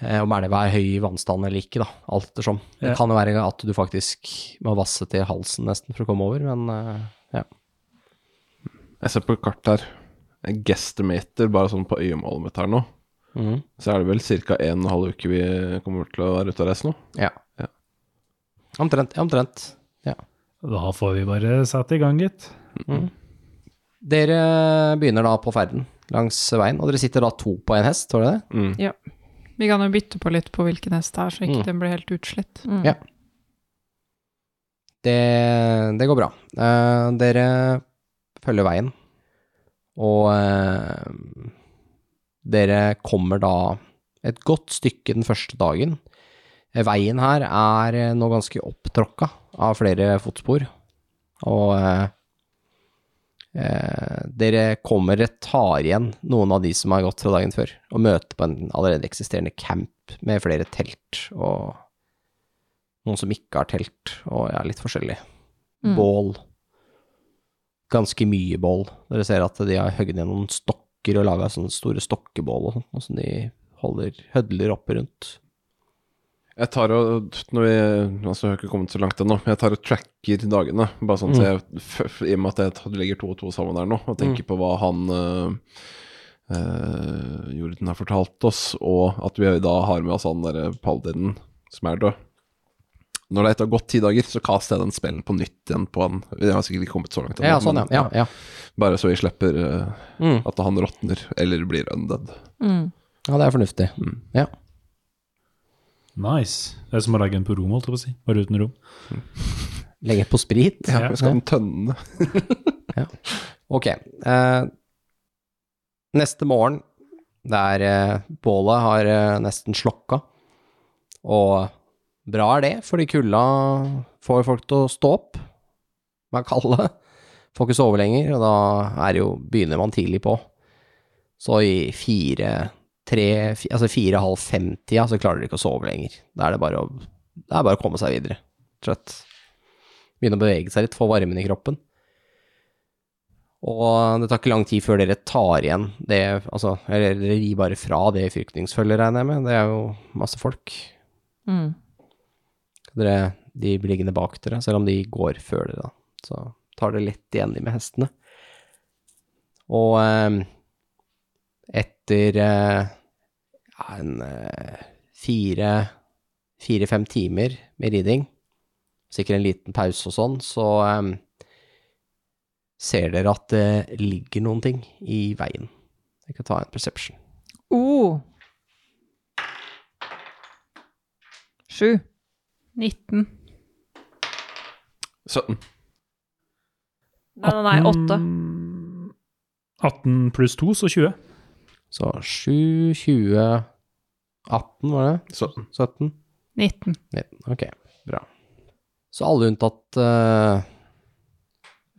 A: eh, om elva er høy i vannstand eller ikke, da, alt ettersom. Det
B: Ja.
A: kan jo være at du faktisk må vasse til halsen nesten for å komme over, men eh, ja.
D: Jeg ser på kart her. Jeg guestimater bare sånn på øyemålet mitt her nå.
A: Mhm.
D: Så er det vel ca. en og en halv uke vi kommer til å være ute og reise nå.
A: ja.
D: Ja.
A: Omtrent, ja, omtrent.
B: Da får vi bare sette i gang, gitt.
A: Dere begynner da på ferden langs veien, og dere sitter da to på en hest, tror dere det?
D: Mm.
E: Vi kan jo bytte på litt på hvilken hest det er, så ikke den blir helt utslett.
C: Mm.
A: Ja. Det, det går bra. Eh, dere følger veien, og eh, dere kommer da et godt stykke den første dagen. Eh, Veien her er eh, nå ganske opptråkka av flere fotspor, og eh, eh, dere kommer tar igjen noen av de som har gått fra dagen før, og møter på en allerede eksisterende camp med flere telt og noen som ikke har telt, og ja, litt forskjellig.
C: Mm.
A: Bål. Ganske mye bål. Dere ser at de har hogd ned noen stokker og laga sånne store stokkebål og sånn, og som de holder hødler oppe rundt.
D: Jeg tar og når vi, altså Jeg har ikke kommet så langt ennå, men jeg tar og tracker dagene. Bare sånn så
A: Mm.
D: jeg, f- f- I og med at jeg tar- legger to og to sammen der nå, og tenker på hva han eh, eh, Jorden har fortalt oss, og at vi da har med oss han derre paladinen som er død. Når det etter har gått ti dager, så kaster jeg den spellen på nytt igjen på han. Jeg har sikkert ikke kommet så langt ennå,
A: Ja, sånn, ja.
D: men-
A: ja, ja.
D: Bare så vi slipper eh,
A: Mm.
D: at han råtner eller blir undead. Mm.
C: Mm.
A: ja det er fornuftig. Ja.
B: Nice. Det er som å legge den på rom, holdt jeg på å si. Bare uten rom.
A: Legge på sprit.
D: Ja,
B: Ja.
D: jeg skal ha en tønne.
A: Ok. eh, neste morgen, der eh, bålet har eh, nesten slokka, og bra er det, fordi kulda får folk til å stå opp, man kaller det. Får ikke sove lenger, og da er det jo, begynner man tidlig på. Så i fire, tre, fi- altså fire, halv fem-tida, så klarer dere ikke å sove lenger. Da er det bare å, det er bare å komme seg videre, rett og slett. Begynne å bevege seg litt, få varmen i kroppen. Og det tar ikke lang tid før dere tar igjen det Altså, eller dere gir bare fra det fyrkningsfølget, regner jeg med. Det er jo masse folk.
C: Mm.
A: Dere, de blir liggende bak dere, selv om de går før dere, da. Så tar dere lett igjen de med hestene. Og eh, etter eh, ja, en eh, fire fire-fem timer med riding, sikkert en liten pause og sånn, så eh, ser dere at det ligger noen ting i veien. Jeg kan ta en perception.
C: Oh. Sju.
E: 19.
D: 17.
C: Nei, nei, nei, åtte.
B: 18 18 pluss 2, så 20.
A: Så 7, 20, 18 var det?
D: 17.
A: 17?
E: 19.
A: 19, ok, bra. Så alle unntatt uh,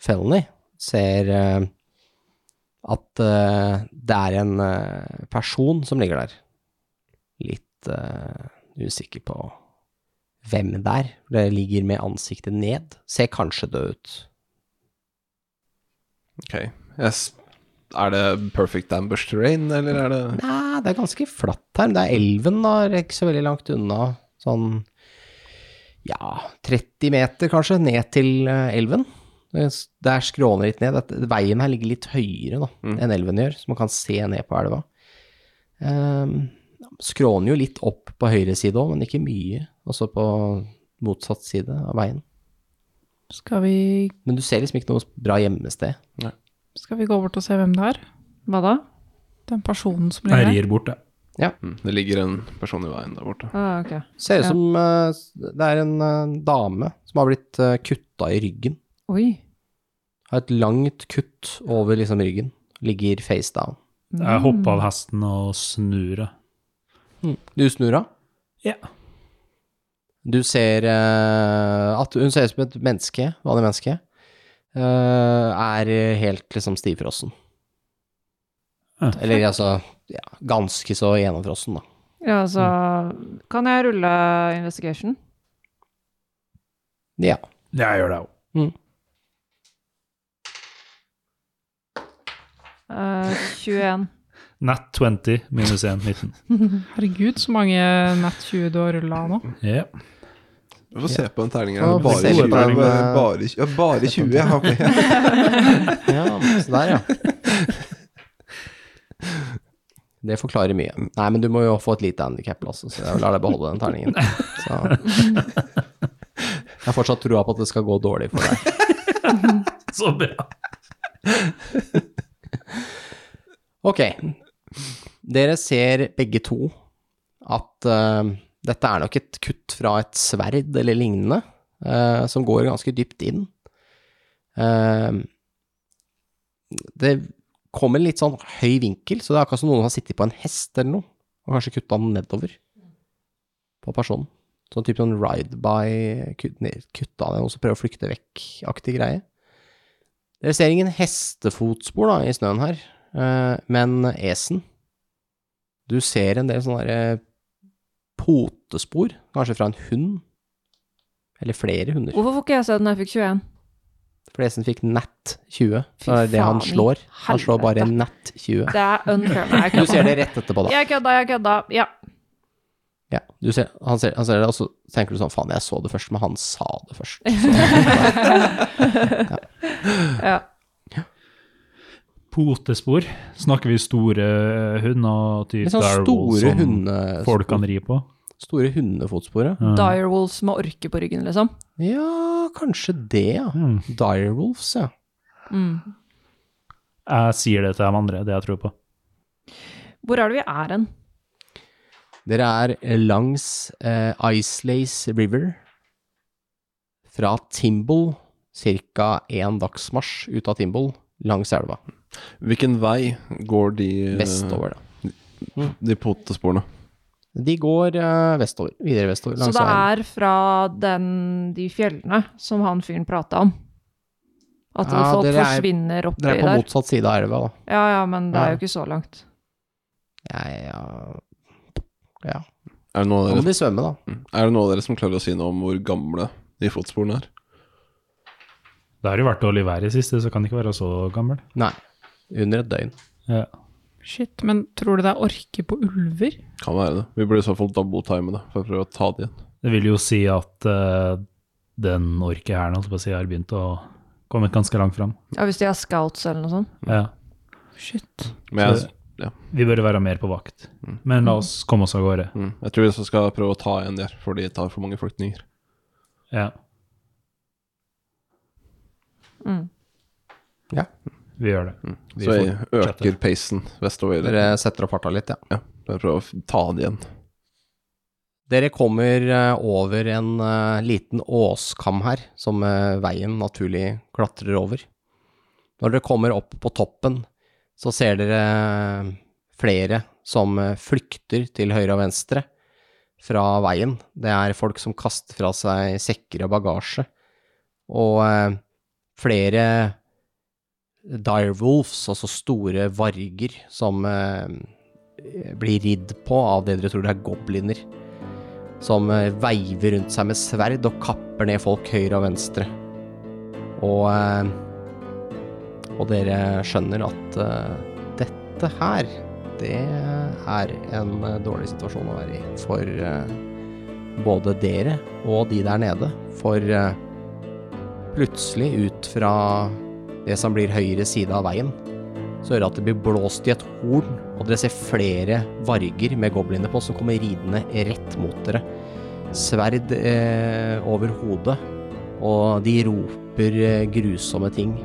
A: Felny ser eh, at eh, det er en eh, person som ligger der. Litt eh, usikker på hvem det er. Det ligger med ansiktet ned. Ser kanskje død ut.
D: Ok. Yes. Er det perfect ambush terrain, eller er det
A: Nei, det er ganske flatt her. men Det er elven, da. er Ikke så veldig langt unna. Sånn ja, 30 meter kanskje, ned til eh, elven. Det er s- Det er skråner litt ned. Dette- Veien her ligger litt høyere da,
D: Mm.
A: enn elven gjør, så man kan se ned på elva. Ehm, skråner jo litt opp på høyre side òg, men ikke mye. Også på motsatt side av veien.
E: Skal vi,
A: Men du ser liksom ikke noe bra gjemmested.
E: skal vi gå bort og se hvem det er?
C: Hva da?
E: Den personen som
B: Jeg
E: ligger der?
B: rir bort, jeg.
D: Mm, Det ligger en person i veien der borte.
C: Ah, ok.
A: Ser ut
C: Ja.
A: som eh, s- det er en eh, dame som har blitt uh, kutta i ryggen.
C: Oi.
A: Har et langt kutt over liksom ryggen. Ligger face down.
C: Mm.
B: Jeg hopper av hesten og snur. jeg.
A: Du snur av.
B: Ja.
A: Du ser eh, at hun ser ut som et menneske, vanlig menneske. eh, er helt liksom stivfrossen.
B: Ja.
A: Eller altså ja, ganske så gjennomfrossen, da.
C: Ja, altså Kan jeg rulle investigation?
A: Ja.
B: Jeg gjør det òg.
C: Eh, 21.
B: Nat 20 minus 1, 19.
E: Herregud, så mange nett 20 du har rulla nå.
B: Ja.
D: Vi får se på den terningen.
A: Ja,
D: her. Bare
A: se på
D: 20.
A: den,
D: Bare,
A: eh,
D: bare, tjue- ja, bare 20, ja. ok.
A: ja. Så der, ja. Det forklarer mye. Nei, men du må jo få et lite handikap, altså, så jeg lar deg beholde den terningen. Så. Jeg har fortsatt troa på at det skal gå dårlig for deg.
B: Så bra.
A: Ok. Dere ser begge to at eh, dette er nok et kutt fra et sverd eller lignende, eh, som går ganske dypt inn. Eh, det kommer litt sånn høy vinkel, så det er akkurat som noen har sittet på en hest eller noe, og kanskje kutta den nedover på personen. Sånn type sånn ride-by, kut- ned- kutta den, og så prøve å flykte vekk-aktig greie. Dere ser ingen hestefotspor da, i snøen her. Eh, men esen Du ser en del sånne der, eh, potespor, kanskje fra en hund. Eller flere hunder.
C: Hvorfor får ikke jeg se den når jeg fikk 21?
A: For esen fikk nett 20.
C: Fy
A: Så det er det han
C: faen i
A: slår. Han slår bare
C: helvete.
A: nett 20.
C: Det er unfair. Nei, jeg
A: Du ser
C: kødda.
A: det rett etterpå, da.
C: Jeg kødda, jeg kødda. Ja.
A: Ja, du ser, han, ser, han ser det, og så tenker du sånn faen, jeg så det først, men han sa det først.
C: ja.
B: Potespor. Snakker vi store hunder? Typ
A: Litt sånn
B: direwolves
A: store
B: som
A: hunde-
B: Folk kan ri på?
A: Store hundefotssporet.
B: Ja.
C: Direwolves med orke på ryggen, liksom.
A: Ja, kanskje det, ja.
B: Mm.
A: Direwolves, ja.
C: Mm.
B: Jeg sier det til de andre, det jeg tror på.
C: Hvor er det vi er hen?
A: Dere er langs eh, Isleys River fra Timble, ca. én dagsmarsj ut av Timble, langs elva.
D: Hvilken vei går de, eh,
A: Vestover, da.
D: de potesporene?
A: De går eh, vestover, videre vestover.
C: Så
A: Langs
C: det
A: elva.
C: er fra den, de fjellene som han fyren prata om? At
A: Ja,
C: folk
A: dere er-
C: forsvinner oppi
A: Dere er på
C: der?
A: motsatt side av elva, da.
C: Ja, ja, men det
A: Ja.
C: er jo ikke så langt.
A: Ja, ja. ja.
D: Er det, noen
A: Da
D: av
A: må
D: dere,
A: de svømme,
C: Mm.
A: da.
D: er det noen av dere som klarer å si noe om hvor gamle de fotsporene er?
B: Det har jo vært dårlig vær i siste, så kan det ikke være så gammel.
A: Nei. Under et døgn.
B: Ja.
E: Shit, men tror du det er orke på ulver?
D: Kan være det. Vi burde i så fall double-time det, for å prøve å ta det igjen.
B: Det vil jo si at eh, den orket her nå, så å si, har begynt å komme ganske langt fram.
C: Ja, Hvis de er scouts eller noe sånt.
B: Ja.
E: Shit.
D: Men jeg,
B: Så- Vi bør være mer på vakt. Men la oss komme oss av gårde.
D: mm, jeg tror vi også skal prøve å ta igjen de her, for de tar for mange flyktninger.
B: Ja.
C: Mm.
A: Ja.
B: Vi gjør det. Vi
D: Så jeg
B: får
D: øker pacen vestover.
A: Dere setter opp farta litt, ja.
D: For å prøve å ta det igjen.
A: Dere kommer eh, over en eh, liten åskam her, som eh, veien naturlig klatrer over. Når dere kommer opp på toppen, så ser dere eh, flere som eh, flykter til høyre og venstre fra veien. Det er folk som kaster fra seg sekker og bagasje, og eh, flere direwolves, altså store varger, som eh, blir ridd på av det dere tror det er gobliner som eh, veiver rundt seg med sverd og kapper ned folk høyre og venstre. Og eh, Og dere skjønner at eh, dette her, det er en eh, dårlig situasjon å være i for eh, både dere og de der nede. For eh, plutselig, ut fra det som blir høyre side av veien, så hører dere at det blir blåst i et horn, og dere ser flere varger med gobliner på som kommer ridende rett mot dere. Sverd eh, over hodet, og de roper eh, grusomme ting.